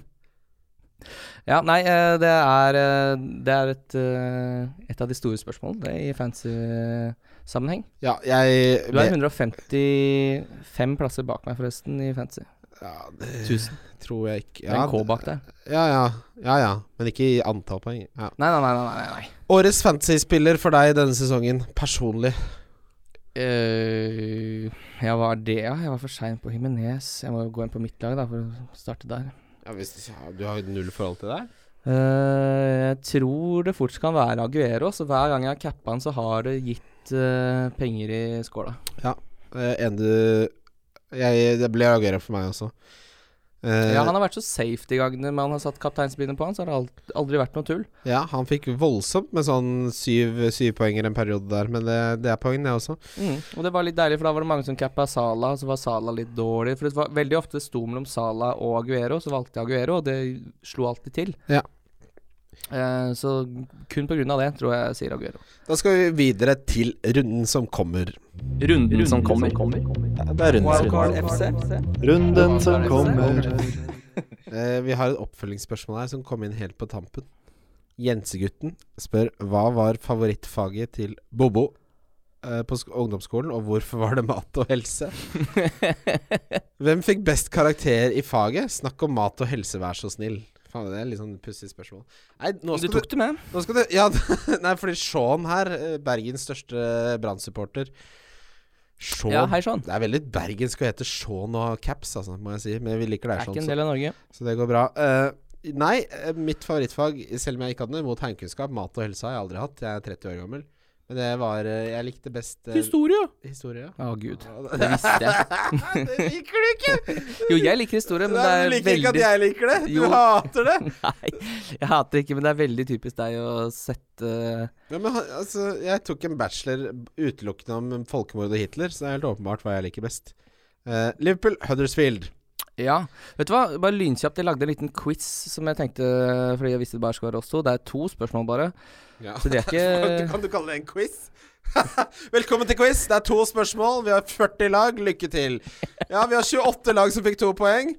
Speaker 2: nei, eh, det er eh, Det er et, eh, et av de store spørsmålene det, i fantasy-sammenheng.
Speaker 3: Ja, jeg
Speaker 2: Du er 155 plasser bak meg, forresten, i fantasy.
Speaker 3: ja, det
Speaker 2: 1000.
Speaker 3: tror jeg ikke
Speaker 2: Det er
Speaker 3: ja,
Speaker 2: en K bak deg.
Speaker 3: ja, ja, ja, ja. Men ikke i antall poeng. Ja.
Speaker 2: Nei, nei, nei. nei, nei, nei.
Speaker 3: Årets fantasyspiller for deg denne sesongen, personlig.
Speaker 2: Eh, ja, hva er det, ja? Jeg var for sein på Himinez. Jeg må gå inn på mitt lag, da, for å starte der.
Speaker 3: Ja, hvis, ja, du har null forhold til det?
Speaker 2: Eh, jeg tror det fort kan være Aguero, så hver gang jeg har cappa han, så har det gitt eh, penger i skåla.
Speaker 3: Eh, en du jeg, Det blir Aguero for meg også. Eh,
Speaker 2: Ja, han har vært så safe de gangene man har satt kapteinsbindet på han, så har det alt, aldri vært noe tull.
Speaker 3: ja, han fikk voldsomt med sånn syv, syv poenger en periode der, men det, det er poeng, det også.
Speaker 2: Mm. Og det var litt deilig, for da var det mange som cappa Sala, og så var Sala litt dårlig. For det var veldig ofte det sto mellom Sala og Aguero, så valgte jeg Aguero, og det slo alltid til.
Speaker 3: Ja.
Speaker 2: Eh, så kun på grunn av det, tror jeg jeg sier Aguero.
Speaker 3: Da skal vi videre til runden som kommer.
Speaker 2: Runden som kommer.
Speaker 3: Ja, Det er rundens runde.
Speaker 1: Wildcard FC.
Speaker 4: Runden som kommer.
Speaker 3: Eh, vi har et oppfølgingsspørsmål her som kom inn helt på tampen. Jensegutten spør hva var favorittfaget til Bobo eh, på sk- ungdomsskolen, og hvorfor var det mat og
Speaker 2: *laughs*
Speaker 3: helse? Hvem fikk best karakter i faget? Snakk om mat og helse, vær så snill. Faen, det er litt sånn pussig spørsmål. Nei, nå
Speaker 2: Du
Speaker 3: skal du,
Speaker 2: tok det med.
Speaker 3: nå skal du Ja, *laughs* nei, fordi Sean her, eh, Bergens største eh, Brann-supporter Sean
Speaker 2: Ja, hei, Sean.
Speaker 3: Det er veldig bergensk å hete Sean og caps, altså, må jeg si. Men vi liker deg,
Speaker 2: Er
Speaker 3: Sean.
Speaker 2: ikke en
Speaker 3: så-
Speaker 2: del av Norge.
Speaker 3: så det går bra. Eh, nei, eh, mitt favorittfag, selv om jeg ikke hadde noe imot heimkunnskap, mat og helse har jeg aldri hatt. Jeg er 30 år gammel. Men det var eh, Jeg likte best eh,
Speaker 2: Historie!
Speaker 3: historie.
Speaker 2: Å, gud.
Speaker 3: Ja, det- *laughs*
Speaker 2: Det visste jeg.
Speaker 3: det liker du ikke!
Speaker 2: Jo, jeg liker historie, *laughs*
Speaker 3: *laughs*
Speaker 2: men
Speaker 3: Nei, du
Speaker 2: det er
Speaker 3: liker ikke at
Speaker 2: veldig
Speaker 3: jeg liker det! Du
Speaker 2: Jo.
Speaker 3: hater
Speaker 2: *laughs*
Speaker 3: det!
Speaker 2: Nei, jeg hater ikke, men det er veldig typisk deg å sette
Speaker 3: Ja, men, han- altså, jeg tok en bachelor utelukkende om folkemord og Hitler, så det er helt åpenbart hva jeg liker best. Eh, Liverpool, Huddersfield.
Speaker 2: eh, Ja. Vet du hva, bare lynkjapt. Jeg lagde en liten quiz som jeg tenkte Fordi jeg visste det bare skulle være oss to. Det er to spørsmål, bare.
Speaker 3: *laughs* Ja.
Speaker 2: Så det er ikke
Speaker 3: Kan du kalle det en quiz? *laughs* Velkommen til quiz. Det er to spørsmål. Vi har 40 lag. Lykke til. Ja, vi har 28 lag som fikk to poeng.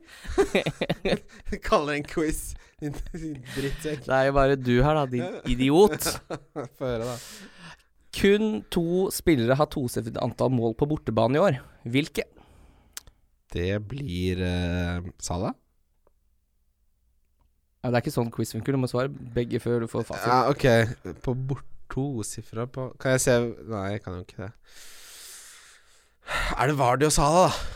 Speaker 3: *laughs* Kalle det en quiz. Din din drittsekk.
Speaker 2: Det er jo bare du her, da, din idiot.
Speaker 3: Få høre, da.
Speaker 2: Kun to spillere har tosifret antall mål på bortebane i år. Hvilke?
Speaker 3: Det blir uh, Sala.
Speaker 2: Ja, det er ikke sånn quiz funker. Du må svare begge før du får fasit.
Speaker 3: Ja, ok. På bort tosifra på Kan jeg se Nei, jeg kan jo ikke det. Er det Vardi og Sala, da?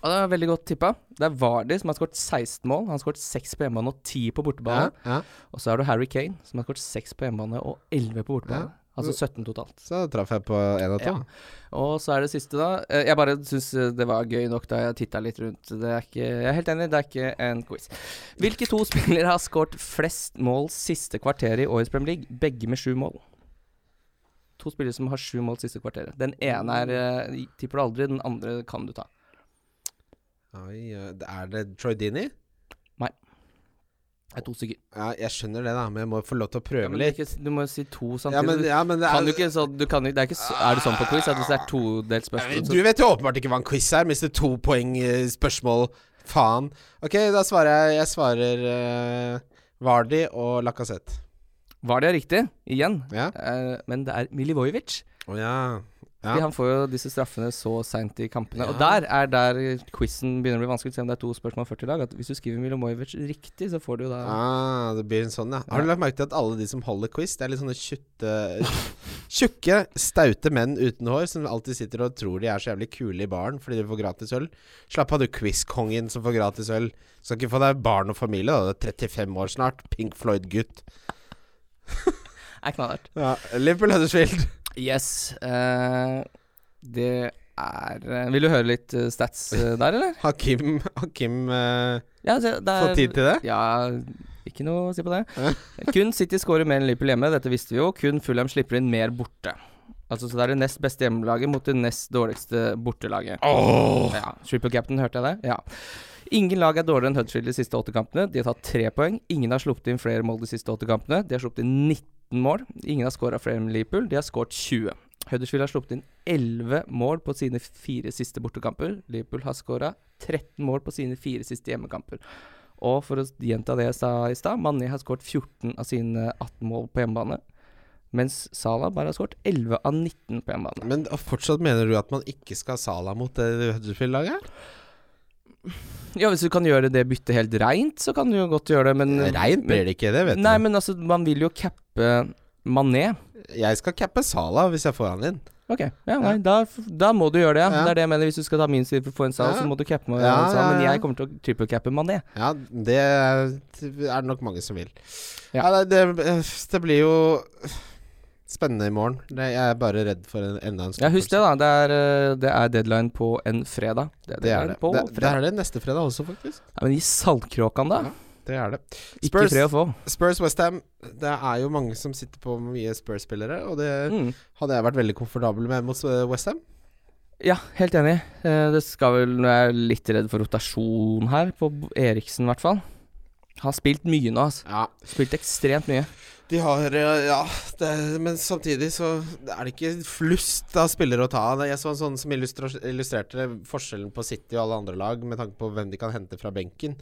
Speaker 2: Ja, det er veldig godt tippa. Det er Vardy som har skåret 16 mål. Han har skåret 6 på hjemmebane og 10 på bortebane.
Speaker 3: ja.
Speaker 2: Og så er det Harry Kane som har skåret 6 på hjemmebane og 11 på bortebane. Altså 17 totalt.
Speaker 3: Så traff jeg på én av to.
Speaker 2: Ja. Og så er det siste, da. Eh, Jeg bare syns det var gøy nok da jeg titta litt rundt. Det er ikke, jeg er helt enig, det er ikke en quiz. Hvilke to spillere har skåret flest mål siste kvarteret i årets Premier League? Begge med sju mål. To spillere som har sju mål siste kvarteret. Den ene er eh, tipper du aldri, den andre kan du ta.
Speaker 3: Oi, eh, er det Troy Dini?
Speaker 2: Det er to stykker.
Speaker 3: Ja, jeg skjønner det, da, men jeg må få lov til å prøve
Speaker 2: Ja, men
Speaker 3: litt.
Speaker 2: ikke, s- du må jo si to
Speaker 3: Ja, men,
Speaker 2: samtidig.
Speaker 3: ja, men det
Speaker 2: Kan du
Speaker 3: er,
Speaker 2: ikke sånn du kan, jo- det er, ikke, så- er det sånn på quiz at hvis det er todelt
Speaker 3: Ja, men
Speaker 2: spørsmål,
Speaker 3: du
Speaker 2: så
Speaker 3: vet jo åpenbart ikke hva en quiz er. Mister to poeng eh, spørsmål. Faen. Ok, da svarer jeg Jeg svarer eh, Vardi og Lacassette.
Speaker 2: var det riktig? Igjen.
Speaker 3: Ja.
Speaker 2: Eh, men det er Milivojevic.
Speaker 3: Å ja. Ja.
Speaker 2: Fordi han får jo disse straffene så seint i kampene. Og
Speaker 3: Ja.
Speaker 2: der er der quizen begynner å bli vanskelig, selv om det er to spørsmål og 40 lag. At hvis du skriver Milomojevic riktig, så får du jo da
Speaker 3: Ah, det blir en sånn, ja. Har du
Speaker 2: Ja.
Speaker 3: lagt merke til at alle de som holder quiz, det er litt sånne tjutte *laughs* Tjukke, staute menn uten hår som alltid sitter og tror de er så jævlig kule i baren fordi de får gratis øl. Slapp av, du quizkongen som får gratis øl. Skal ikke få deg barn og familie, da. Du er 35 år snart. Pink Floyd-gutt.
Speaker 2: er knallhardt.
Speaker 3: Ja, Liverpool Huddersfield.
Speaker 2: Yes. eh, det er eh, Vil du høre litt eh, stats eh, der, eller?
Speaker 3: Har Kim, har Kim eh,
Speaker 2: Ja, altså, det, det er,
Speaker 3: fått tid til det?
Speaker 2: Ja, ikke noe å si på det. Kun City skårer mer enn Liverpool hjemme, dette visste vi jo. Kun Fulham slipper inn mer borte. Altså, så det er det nest beste hjemmelaget mot det nest dårligste bortelaget. Ja, Triple captain, hørte jeg det? Ja. Ingen lag er dårligere enn Huddersfield de siste åtte kampene. De har tatt tre poeng. Ingen har sluppet inn flere mål de siste åtte kampene. De har sluppet inn 19 mål. Ingen har skåra flere enn Liverpool. De har skåret 20. Huddersfield har sluppet inn 11 mål på sine fire siste bortekamper. Liverpool har skåra 13 mål på sine fire siste hjemmekamper. Og for å gjenta det jeg sa i stad, Mané har skåret 14 av sine 18 mål på hjemmebane. Mens Salah bare har skåret 11 av 19 på hjemmebane.
Speaker 3: Men og fortsatt mener du at man ikke skal ha Salah mot det Huddersfield-laget?
Speaker 2: Ja, hvis du kan gjøre det byttet helt reint, så kan du jo godt gjøre det, men
Speaker 3: Reint blir det ikke, det vet
Speaker 2: Mm. Nei,
Speaker 3: du.
Speaker 2: men altså, man vil jo cappe Mané.
Speaker 3: Jeg skal cappe Salah hvis jeg får han inn.
Speaker 2: Ok, ja, nei, da, da må du gjøre det. Ja.
Speaker 3: Ja.
Speaker 2: Det er det jeg mener. Hvis du skal ta min side for å få en sal,
Speaker 3: Ja.
Speaker 2: så må du cappe meg.
Speaker 3: Ja,
Speaker 2: en sal,
Speaker 3: ja,
Speaker 2: Men
Speaker 3: ja.
Speaker 2: jeg kommer til å trippelcappe Mané.
Speaker 3: Ja, det er det nok mange som vil.
Speaker 2: Ja.
Speaker 3: Ja, nei, det, det blir jo spennende i morgen. Det, jeg er bare redd for en, enda en
Speaker 2: Ja, husk det, da. Det er, eh, det er deadline på en fredag. Det er
Speaker 3: Det er
Speaker 2: deadline
Speaker 3: det.
Speaker 2: på
Speaker 3: Det, det
Speaker 2: fredag.
Speaker 3: er det neste fredag også, faktisk.
Speaker 2: Ja, men gi saltkråkene, da.
Speaker 3: Ja. Det er det.
Speaker 2: Ikke
Speaker 3: Spurs,
Speaker 2: fred å få.
Speaker 3: Spurs Westham. Det er jo mange som sitter på mye Spurs-spillere, og det
Speaker 2: Mm.
Speaker 3: hadde jeg vært veldig komfortabel med eh, mot Westham.
Speaker 2: Ja, helt enig. Eh, Det skal vel Nå er jeg litt redd for rotasjon her, på B- Eriksen i hvert fall. Har spilt mye nå, altså.
Speaker 3: Ja.
Speaker 2: Spilt ekstremt mye.
Speaker 3: De har eh, Ja, det, men samtidig så er det ikke flust av spillere å ta av. Jeg så en sånn som illustras- illustrerte forskjellen på City og alle andre lag med tanke på hvem de kan hente fra benken.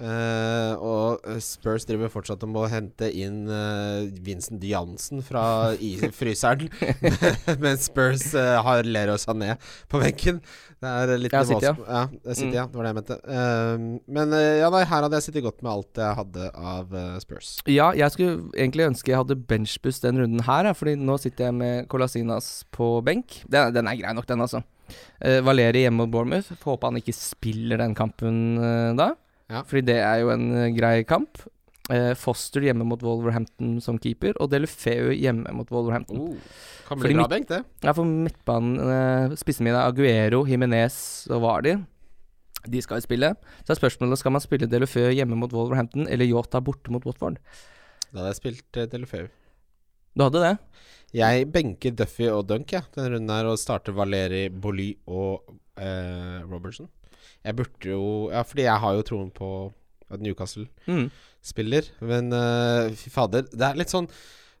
Speaker 3: Eh, og Spurs driver fortsatt om å hente inn eh, Vincent Jansen fra
Speaker 2: *laughs*
Speaker 3: i fryseren. *laughs* Mens Spurs eh, har Lero Sané på benken. Det er litt
Speaker 2: Ja, City, ja. Mm.
Speaker 3: vanskelig- ja. det er City, ja. Det var det jeg mente. Eh, men eh, ja, nei, her hadde jeg sittet godt med alt jeg hadde av eh, Spurs.
Speaker 2: Ja, jeg skulle egentlig ønske jeg hadde benchbust den runden her, ja, fordi nå sitter jeg med Colasinas på benk. Den, den er grei nok, den, altså. Eh, Valeri hjemme mot Bournemouth. Får håpe han ikke spiller den kampen eh, da,
Speaker 3: Ja.
Speaker 2: fordi det er jo en eh, grei kamp. Eh, Foster hjemme mot Wolverhampton som keeper, og Delufeu hjemme mot
Speaker 3: Oh.
Speaker 2: Wolverhampton.
Speaker 3: kan
Speaker 2: Oh, Fordi
Speaker 3: bli bra
Speaker 2: mitt-
Speaker 3: benk, det.
Speaker 2: Ja, for midtbanen, eh, spissen min er Aguero, Jimenez og Vardi. De skal jo spille. Så er spørsmålet skal man spille Delufeu hjemme mot Wolverhampton eller Yota borte mot Watford.
Speaker 3: Da hadde jeg spilt uh, Delefeu.
Speaker 2: Du hadde det?
Speaker 3: Jeg benker Duffy og Dunk jeg, denne runden her og starter Valeri Bolly og eh, Robertson. Jeg burde jo Ja, fordi jeg har jo troen på at Newcastle
Speaker 2: Mm.
Speaker 3: spiller, men eh, fy fader. Det er litt sånn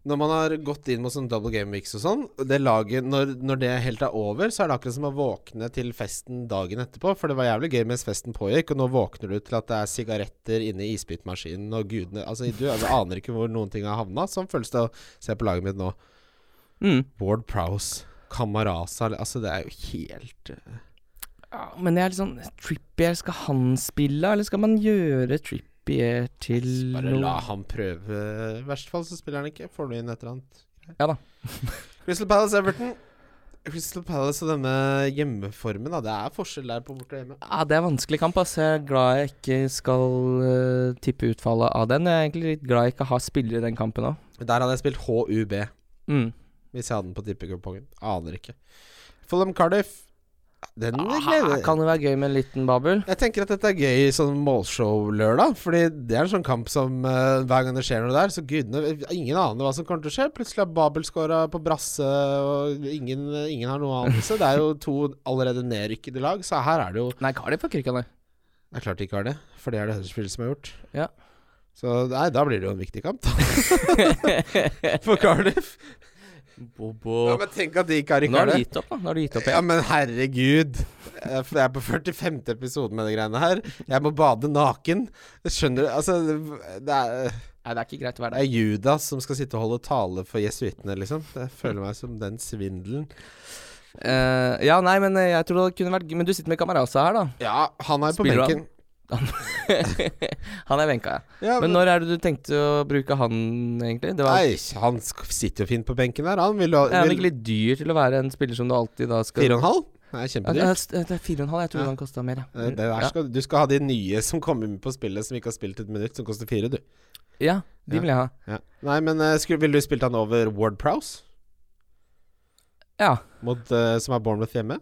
Speaker 3: når man har gått inn mot sånn double game weeks og sånn, det laget, når, når det helt er over, så er det akkurat som å våkne til festen dagen etterpå. For det var jævlig gøy mens festen pågikk, og nå våkner du til at det er sigaretter inne i isbitmaskinen og gudene Altså, du aner ikke hvor noen ting har havna. Sånn føles det å se på laget mitt nå.
Speaker 2: Mm.
Speaker 3: Ward Prowse, Kamaraza Altså, det er jo helt eh,
Speaker 2: Ja, men jeg er litt sånn Trippier, skal han spille, eller skal man gjøre Trippier til
Speaker 3: Bare
Speaker 2: noe?
Speaker 3: la ham prøve. I verste fall så spiller han ikke. Får du inn et eller annet.
Speaker 2: Ja da.
Speaker 3: *laughs* Crystal Palace Everton. Crystal Palace og denne hjemmeformen, da. Det er forskjell der på borte og hjemme.
Speaker 2: Ja, det er vanskelig kamp, ass. Jeg er glad jeg ikke skal eh, tippe utfallet av den. Jeg er egentlig litt glad jeg ikke har spillere i den kampen òg.
Speaker 3: Der hadde jeg spilt HUB
Speaker 2: Mm.
Speaker 3: hvis jeg hadde den på tippekupongen. Aner ikke. Fulham Cardiff. Den gleder
Speaker 2: Ah, kan det være gøy med en liten babel?
Speaker 3: Jeg tenker at dette er gøy i sånn målshow-lørdag, Fordi det er en sånn kamp som eh, hver gang det skjer noe der, så gudene Ingen aner hva som kommer til å skje. Plutselig har Babel skåra på brasse, og ingen, ingen har noe anelse. Det er jo to allerede nedrykkede lag, så her er det jo
Speaker 2: Nei, Cardiff har krykka ned.
Speaker 3: Det er klart de ikke har det, for det er det Huddersfield som har gjort.
Speaker 2: Ja.
Speaker 3: Så nei, da blir det jo en viktig kamp, da. *laughs* For
Speaker 2: *laughs*
Speaker 3: Cardiff. Ja, men tenk at de ikke har
Speaker 2: Nå har
Speaker 3: Ricardo.
Speaker 2: du gitt opp, da. Nå har du gitt opp
Speaker 3: Ja, men herregud. Eh, for Jeg er på 45. episode med de greiene her. Jeg må bade naken. Skjønner du? Altså, det- det er,
Speaker 2: Nei, det er ikke greit å
Speaker 3: det
Speaker 2: være
Speaker 3: er
Speaker 2: der.
Speaker 3: Judas som skal sitte og holde tale for jesuittene, liksom. Jeg føler meg som den svindelen.
Speaker 2: Eh, ja, nei, men eh, jeg tror det kunne vært gøy. Men du sitter med
Speaker 3: *laughs*
Speaker 2: Kamaraza her, da. *laughs*
Speaker 3: Ja, han er på
Speaker 2: Spiller
Speaker 3: benken.
Speaker 2: Han er benka, ja.
Speaker 3: Ja,
Speaker 2: Men når er det du tenkte å bruke han, egentlig? Det var
Speaker 3: Nei, han sk- sitter jo fint på benken her. Han vil ha
Speaker 2: Er han
Speaker 3: vil-
Speaker 2: ikke litt dyr til å være en spiller som du alltid da skal
Speaker 3: Fire og en halv? Det er
Speaker 2: Ja, det
Speaker 3: kjempedyrt.
Speaker 2: er- det er fire og en halv. Jeg trodde
Speaker 3: Ja.
Speaker 2: han kosta mer, ja.
Speaker 3: Det der skal, du skal ha de nye som kommer med på spillet som ikke har spilt et minutt, som koster fire, du.
Speaker 2: ja. ja, de
Speaker 3: Ja.
Speaker 2: vil jeg ha.
Speaker 3: Ja. Nei, men eh, skulle, ville du spilt han over Ward Prowse,
Speaker 2: Ja.
Speaker 3: mot, eh, som er Bournemouth hjemme?
Speaker 2: ja.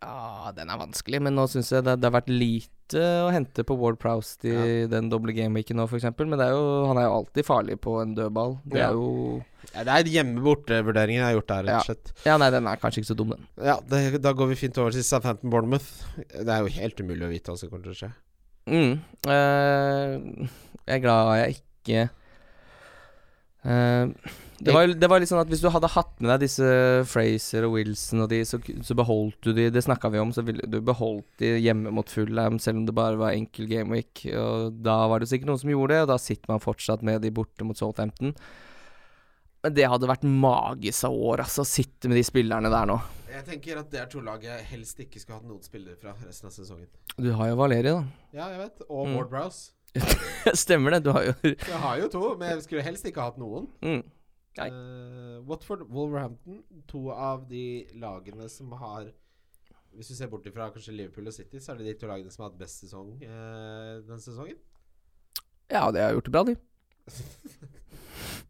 Speaker 2: Ah, Den er vanskelig, men nå syns jeg det, det har vært lite å hente på Ward Prowse i den doble gameweeken nå, f.eks. Men det er jo, han er jo alltid farlig på en dødball. Det
Speaker 3: Ja.
Speaker 2: er jo
Speaker 3: Ja, det er hjemme-borte-vurderingen jeg har gjort der, rett og slett.
Speaker 2: Ja, nei, den er kanskje ikke så dum, den.
Speaker 3: Ja, det, Da går vi fint over til Southampton Bournemouth. Det er jo helt umulig å vite hva som kommer til å skje.
Speaker 2: Mm. Eh, jeg er glad jeg ikke eh, det, var, jo- det var litt sånn at Hvis du hadde hatt med deg disse Fraser og Wilson og de, så, ku- så beholdt du de Det snakka vi om, så ville du beholdt de hjemme mot Fulham, selv om det bare var enkel gameweek. Og da var det sikkert noen som gjorde det, og da sitter man fortsatt med de borte mot Southampton. Men det hadde vært magisk av år, altså, å sitte med de spillerne der nå.
Speaker 3: Jeg tenker at det er to lag jeg helst ikke skulle hatt noen spillere fra resten av sesongen.
Speaker 2: Du har jo Valeri, da.
Speaker 3: Ja, jeg vet. Og
Speaker 2: Mm.
Speaker 3: Ward Prowse.
Speaker 2: *laughs* Stemmer det, du har jo
Speaker 3: Jeg har jo to, men jeg skulle helst ikke hatt noen.
Speaker 2: mm. Nei.
Speaker 3: Eh, Watford, Wolverhampton, to av de lagene som har Hvis du ser bort ifra kanskje Liverpool og City, så er det de to lagene som har hatt best sesong eh, denne sesongen.
Speaker 2: Ja, de har gjort det bra, de.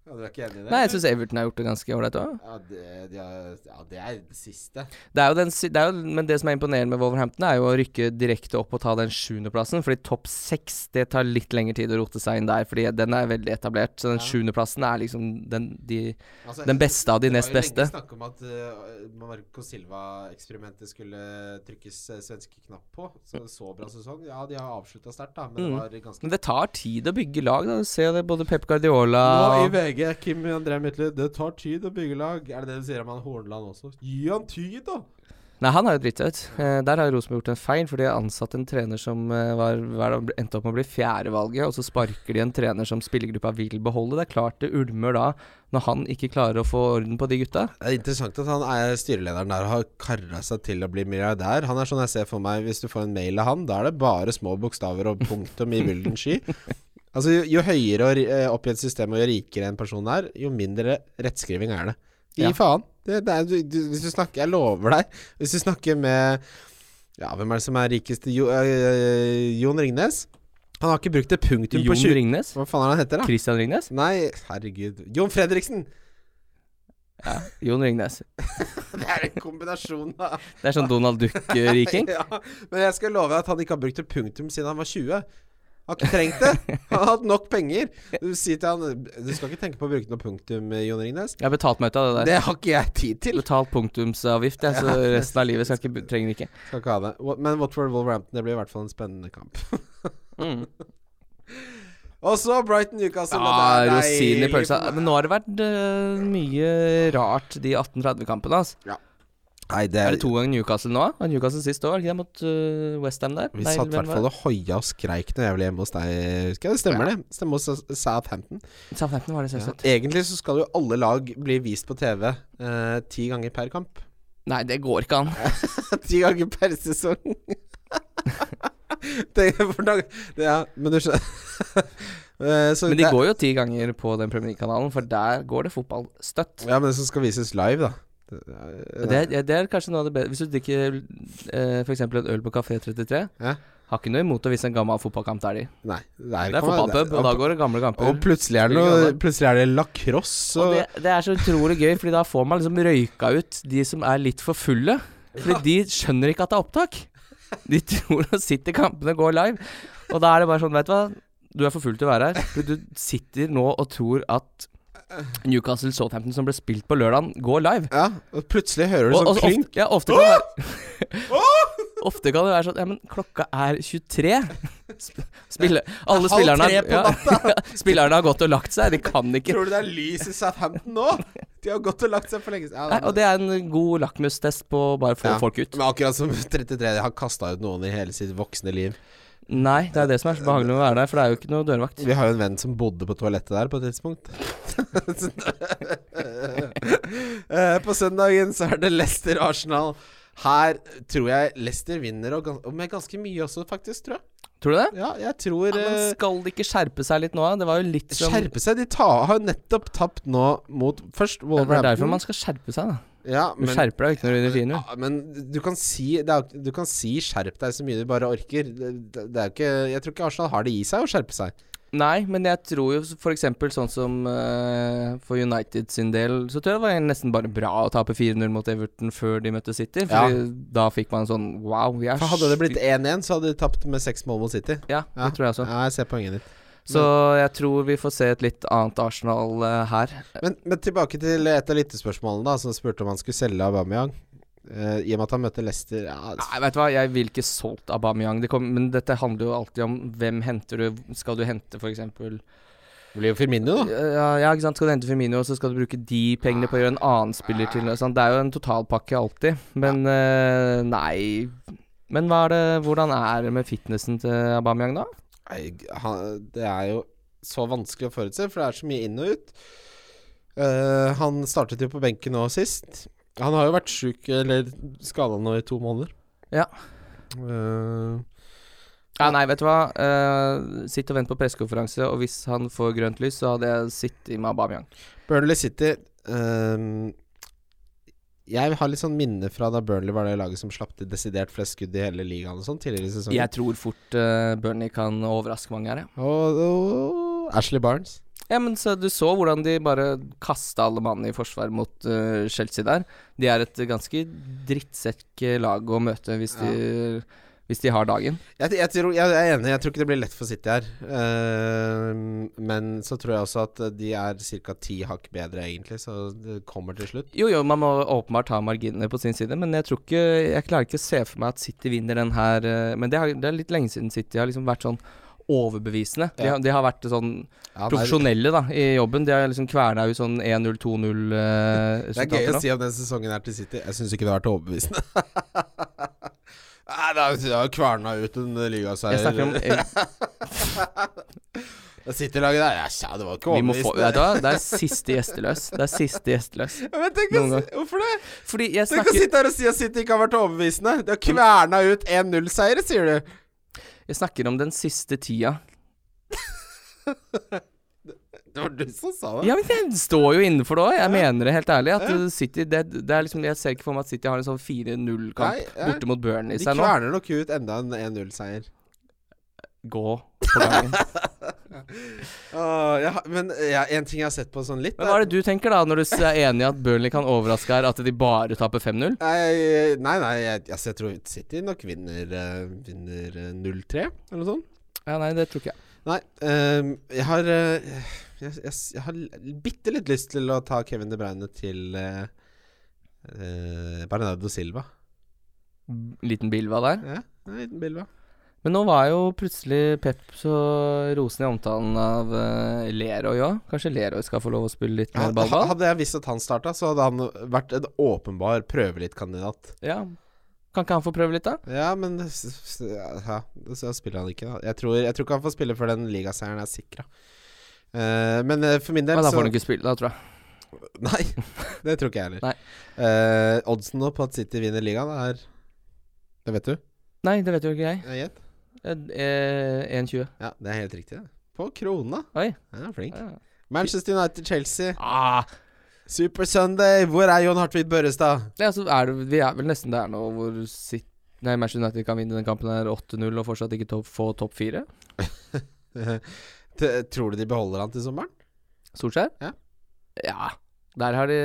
Speaker 3: Ja, du er ikke enig i det?
Speaker 2: Nei, jeg syns Everton har gjort det ganske ålreit òg.
Speaker 3: ja, det, de har, ja, det er det siste.
Speaker 2: Det er jo den, si- det er jo, men det som er imponerende med Wolverhampton, er jo å rykke direkte opp og ta den sjuendeplassen. Fordi topp seks det tar litt lengre tid å rote seg inn der, fordi den er veldig etablert. Så den
Speaker 3: Ja.
Speaker 2: sjuendeplassen er liksom den, de,
Speaker 3: Altså,
Speaker 2: den beste av de nest
Speaker 3: Det var jo
Speaker 2: beste.
Speaker 3: lenge snakk om at eh, Marco Silva-eksperimentet skulle trykkes uh, svenske knapp på. Så, så bra sesong. Ja, de har avslutta sterkt, da, men
Speaker 2: Mm.
Speaker 3: det var ganske
Speaker 2: Men det tar tid å bygge lag. da Du ser det både Pep Guardiola
Speaker 3: Nå i
Speaker 2: og
Speaker 3: VG, Kim André Midtly, det tar tid å bygge lag. Er det det du sier om han Hornland også? Gi han tid, da!
Speaker 2: Nei, han er jo drita ut. Eh, der har Rosenborg gjort en feil, for de har ansatt en trener som eh, var, var, endte opp med å bli fjerdevalget, og så sparker de en trener som spillergruppa vil beholde. Det er klart det ulmer da, når han ikke klarer å få orden på de gutta.
Speaker 3: Det er interessant at han er styrelederen der og har kara seg til å bli milliardær. Han er sånn jeg ser for meg Hvis du får en mail av han, da er det bare små bokstaver og punktum i vilden *laughs* sky. Altså, jo, jo høyere og ri- eh, opp i et system og jo rikere en person er, jo mindre rettskriving er det. Gi
Speaker 2: Ja.
Speaker 3: faen. Det, det er, du, du, hvis du snakker Jeg lover deg. Hvis du snakker med Ja, hvem er det som er rikest? Jo, eh, Jon Ringnes? Han har ikke brukt et punktum på
Speaker 2: Jon
Speaker 3: 20
Speaker 2: Ringnes?
Speaker 3: Hva faen er det han heter, da?
Speaker 2: Christian Ringnes?
Speaker 3: Nei, herregud. Jon Fredriksen!
Speaker 2: Jon Ringnes.
Speaker 3: Det er en kombinasjon av
Speaker 2: Det er sånn Donald Duck-riking.
Speaker 3: *laughs* Ja, men jeg skal love at han ikke har brukt et punktum siden han var 20. Han har ikke trengt det. Han har hatt nok penger. Du sier til han Du skal ikke tenke på å bruke noe punktum, eh, Jon Ringnes.
Speaker 2: Jeg har betalt meg ut av det der.
Speaker 3: Det har ikke jeg tid til.
Speaker 2: Betalt punktumsavgift, jeg, så resten av livet skal ikke, trenger ikke.
Speaker 3: Skal ikke ha det. Wa- Men Watford Wolverhampton, det blir i hvert fall en spennende kamp.
Speaker 2: Mm.
Speaker 3: *laughs* Og så Brighton Newcastle.
Speaker 2: Ja,
Speaker 3: det er
Speaker 2: Ah, rosin i
Speaker 3: deilig
Speaker 2: pølsa.
Speaker 3: på meg.
Speaker 2: Men nå har det vært eh, mye rart, de 1830-kampene. Altså.
Speaker 3: Nei, det
Speaker 2: Er det to ganger Newcastle nå? Var Newcastle sist år, ikke det, mot uh, Westham der?
Speaker 3: Vi
Speaker 2: Nei,
Speaker 3: satt i
Speaker 2: hvem
Speaker 3: hvert
Speaker 2: var
Speaker 3: fall og hoia og skreik når jeg ble hjemme hos deg. Husker jeg det stemmer, det. Stemmer hos Sa- Southampton.
Speaker 2: det? Southampton var det sist. ut.
Speaker 3: Egentlig så skal jo alle lag bli vist på TV eh, ti ganger per kamp.
Speaker 2: Nei, det går ikke an.
Speaker 3: Ti ganger per sesong. *laughs* det, er for da- det, ja, men du skjønner *laughs* Eh, så
Speaker 2: Men de
Speaker 3: det-
Speaker 2: går jo ti ganger på den Premier League-kanalen, for der går det fotball støtt.
Speaker 3: Ja, men som skal vises live, da. Det, eh, er-
Speaker 2: Det, er- ja, det er kanskje noe av det bedre Hvis du drikker uh, f.eks. en øl på Kafé 33,
Speaker 3: Ja.
Speaker 2: har ikke noe imot å vise en gammel fotballkamp der, de.
Speaker 3: Nei,
Speaker 2: Det
Speaker 3: kan
Speaker 2: er
Speaker 3: man-
Speaker 2: fotballpub, og da går det gamle kamper.
Speaker 3: Og plutselig er det noe Plutselig er det lacrosse
Speaker 2: Og
Speaker 3: og
Speaker 2: det, det er så utrolig gøy, Fordi da får man liksom røyka ut de som er litt for fulle. Fordi de skjønner ikke at det er opptak. De tror å sitte i kampene og gå live. Og da er det bare sånn, vet du hva. Du er for full til å være her. Fordi du sitter nå og tror at Newcastle Southampton som ble spilt på lørdag, går live.
Speaker 3: Ja, og plutselig hører du
Speaker 2: Og, og
Speaker 3: sånn
Speaker 2: så
Speaker 3: klynk.
Speaker 2: ofte, ja, ofte, kan det være, ofte kan det være sånn Ja, men klokka er 23. Sp- Spille, alle
Speaker 3: Halv
Speaker 2: spillerne,
Speaker 3: tre på
Speaker 2: ja, *laughs* ja, spillerne har gått og lagt seg. De kan ikke
Speaker 3: Tror du det er lys i Southampton nå? De har gått og lagt seg for lenge siden. Ja,
Speaker 2: Nei, og det er en god lakmustest på å bare få
Speaker 3: Ja.
Speaker 2: folk ut.
Speaker 3: men akkurat som 33 har kasta ut noen i hele sitt voksne liv.
Speaker 2: Nei, det er det som er så behagelig med å være der, for det er jo ikke noe dørvakt.
Speaker 3: Vi har jo en venn som bodde på toalettet der på et *laughs* tidspunkt. Eh, på søndagen så er det Leicester-Arsenal. Her tror jeg Leicester vinner, og, gans og med ganske mye også, faktisk, tror jeg.
Speaker 2: Tror du det?
Speaker 3: Ja, jeg tror
Speaker 2: Ja, men
Speaker 3: eh,
Speaker 2: skal de ikke skjerpe seg litt nå, da? Det var jo litt som
Speaker 3: Skjerpe seg. De ta, har jo nettopp tapt nå mot først
Speaker 2: Det er derfor
Speaker 3: Wolverhampton.
Speaker 2: man skal skjerpe seg, da.
Speaker 3: Ja,
Speaker 2: Du
Speaker 3: men,
Speaker 2: skjerper deg jo ikke når du vinner fien,
Speaker 3: ja, men du kan si det er, jo- Du kan si 'skjerp deg' så mye du bare orker. Det, det er jo ikke Jeg tror ikke Arsenal har det i seg å skjerpe seg.
Speaker 2: Nei, men jeg tror jo f.eks. sånn som eh, for United sin del, så tror jeg det var nesten bare bra å tape 4-0 mot Everton før de møtte City. For da fikk man sånn wow, vi er
Speaker 3: For Hadde det blitt 1-1, så hadde de tapt med seks mål mot City.
Speaker 2: Ja,
Speaker 3: Ja.
Speaker 2: det tror jeg også.
Speaker 3: Ja, jeg ser poenget ditt.
Speaker 2: Så jeg tror vi får se et litt annet Arsenal eh, her.
Speaker 3: Men, men tilbake til et av lyttespørsmålene, da, som spurte om han skulle selge Aubameyang. Eh, I og med at han møter Leicester ja,
Speaker 2: Nei, vet du hva, jeg vil ikke solgt Aubameyang. Det kom, men dette handler jo alltid om hvem henter du. Skal du hente f.eks.
Speaker 3: Det blir jo Firmino, da.
Speaker 2: Ja, ja, ikke sant. Skal du hente Firmino, så skal du bruke de pengene på å gjøre en annen spiller til. og sånn. Det er jo en totalpakke alltid. Men eh, nei. Men hva er det, hvordan er det med fitnessen til Aubameyang da?
Speaker 3: Nei, han, det er jo så vanskelig å forutse, for det er så mye inn og ut. Eh, han startet jo på benken nå sist. Han har jo vært sjuk, eller skada nå i to måneder.
Speaker 2: Ja.
Speaker 3: Eh,
Speaker 2: Ja, nei, vet du hva. Eh, sitt og vent på pressekonferanse, og hvis han får grønt lys, så hadde jeg sittet med Aubameyang.
Speaker 3: Burnley City ehm, Jeg har litt sånn minne fra da Burnley var det laget som slapp til desidert flest skudd i hele ligaen og sånn tidligere i sesongen.
Speaker 2: Jeg tror fort eh, Burnley kan overraske mange her, jeg.
Speaker 3: Og, og Ashley Barnes.
Speaker 2: Ja, men så du så hvordan de bare kasta alle mannene i forsvar mot eh, Chelsea der. De er et ganske drittsekk eh, lag å møte hvis de, hvis de har dagen.
Speaker 3: Jeg, jeg, tror, jeg er enig, jeg tror ikke det blir lett for City her. Ehm, men så tror jeg også at de er ca. ti hakk bedre, egentlig, så det kommer til slutt.
Speaker 2: Jo, jo, man må åpenbart ha marginene på sin side, men jeg tror ikke Jeg klarer ikke å se for meg at City vinner den her eh, Men det, har, det er litt lenge siden City har liksom vært sånn overbevisende. De,
Speaker 3: Ja.
Speaker 2: har- de har vært sånn
Speaker 3: Ja, det, er,
Speaker 2: profesjonelle da, i jobben. De har liksom kverna ut sånn 1-0-2-0-resultater.
Speaker 3: det er gøy å si om den sesongen her til City. Jeg syns ikke det har vært overbevisende. *laughs* Nei, det er- det har jo kverna ut en
Speaker 2: Jeg snakker om
Speaker 3: ligaseier.
Speaker 2: eh,
Speaker 3: City-laget der, ja, tja, det var ikke
Speaker 2: vi
Speaker 3: *laughs*
Speaker 2: må få, vet du
Speaker 3: overbevisende.
Speaker 2: hva? Det er siste gjesteløs. Det er siste gjesteløs.
Speaker 3: Ja, men tenk
Speaker 2: Noen
Speaker 3: å si- Hvorfor det?
Speaker 2: Fordi
Speaker 3: Du
Speaker 2: jeg
Speaker 3: kan
Speaker 2: snakker,
Speaker 3: sitte her og si at City ikke har vært overbevisende. De har kverna ut 1-0-seiere, sier du.
Speaker 2: jeg snakker om den siste tida.
Speaker 3: Det var du som sa det.
Speaker 2: Ja, men jeg står jo innenfor det òg. Jeg mener det helt ærlig. At uh, City det, det er liksom, Jeg ser ikke for meg at City har en sånn 4-0-kamp
Speaker 3: Nei, ja.
Speaker 2: borte mot Burnley
Speaker 3: De
Speaker 2: seg nå.
Speaker 3: kverner nok ut enda en 1-0-seier.
Speaker 2: Gå på dagen.
Speaker 3: Åh, jeg har- men ja, en ting jeg har sett på sånn litt
Speaker 2: Men hva er det du tenker, da, når du s- er enig i at Burnley kan overraske her, at de bare taper 5-0?
Speaker 3: Nei, nei, nei jeg, altså, jeg tror City nok vinner, eh, vinner eh, 0-3, eller noe sånt.
Speaker 2: Ja, nei, det tror ikke jeg.
Speaker 3: Nei, ehm, jeg har eh, jeg, jeg, jeg har bitte litt lyst til å ta Kevin De Bruyne til eh, eh, Bernardo Silva.
Speaker 2: Mm, Liten Bilva der.
Speaker 3: Ja, en liten bilva.
Speaker 2: Men nå var jo plutselig Pep så rosende i omtalen av uh, Lerøy òg. Kanskje Lerøy skal få lov å spille litt
Speaker 3: Ja,
Speaker 2: mer
Speaker 3: ha-
Speaker 2: ballball?
Speaker 3: Hadde jeg visst at han starta, så hadde han vært en åpenbar prøvelittkandidat.
Speaker 2: Ja. Kan ikke han få prøve litt, da?
Speaker 3: Ja, men s- s- ja, så spiller han ikke, da. Jeg tror, jeg tror ikke han får spille før den ligaseieren er sikra. men eh, for min del
Speaker 2: Men da
Speaker 3: så
Speaker 2: får han ikke spille, da, tror jeg.
Speaker 3: *laughs* Nei, det tror ikke jeg heller.
Speaker 2: Nei.
Speaker 3: Eh, oddsen nå på at City vinner ligaen er Det vet du?
Speaker 2: Nei, det vet jo ikke jeg.
Speaker 3: Jeg gjett.
Speaker 2: Eh, eh, 1,20.
Speaker 3: Ja, det er helt riktig, det. På krona.
Speaker 2: Oi.
Speaker 3: Ja, flink.
Speaker 2: Ja.
Speaker 3: Manchester United-Chelsea.
Speaker 2: Ah,
Speaker 3: Super Sunday! Hvor er Jon Hartvig Børrestad? *laughs*
Speaker 2: Ja, så er det, vi er vel nesten der nå hvor Sit- nei, Manchester United kan vinne den kampen her 8-0 og fortsatt ikke topp- få topp fire.
Speaker 3: T- tror du de beholder han til sommeren?
Speaker 2: Solskjær?
Speaker 3: Ja.
Speaker 2: ja. Der har de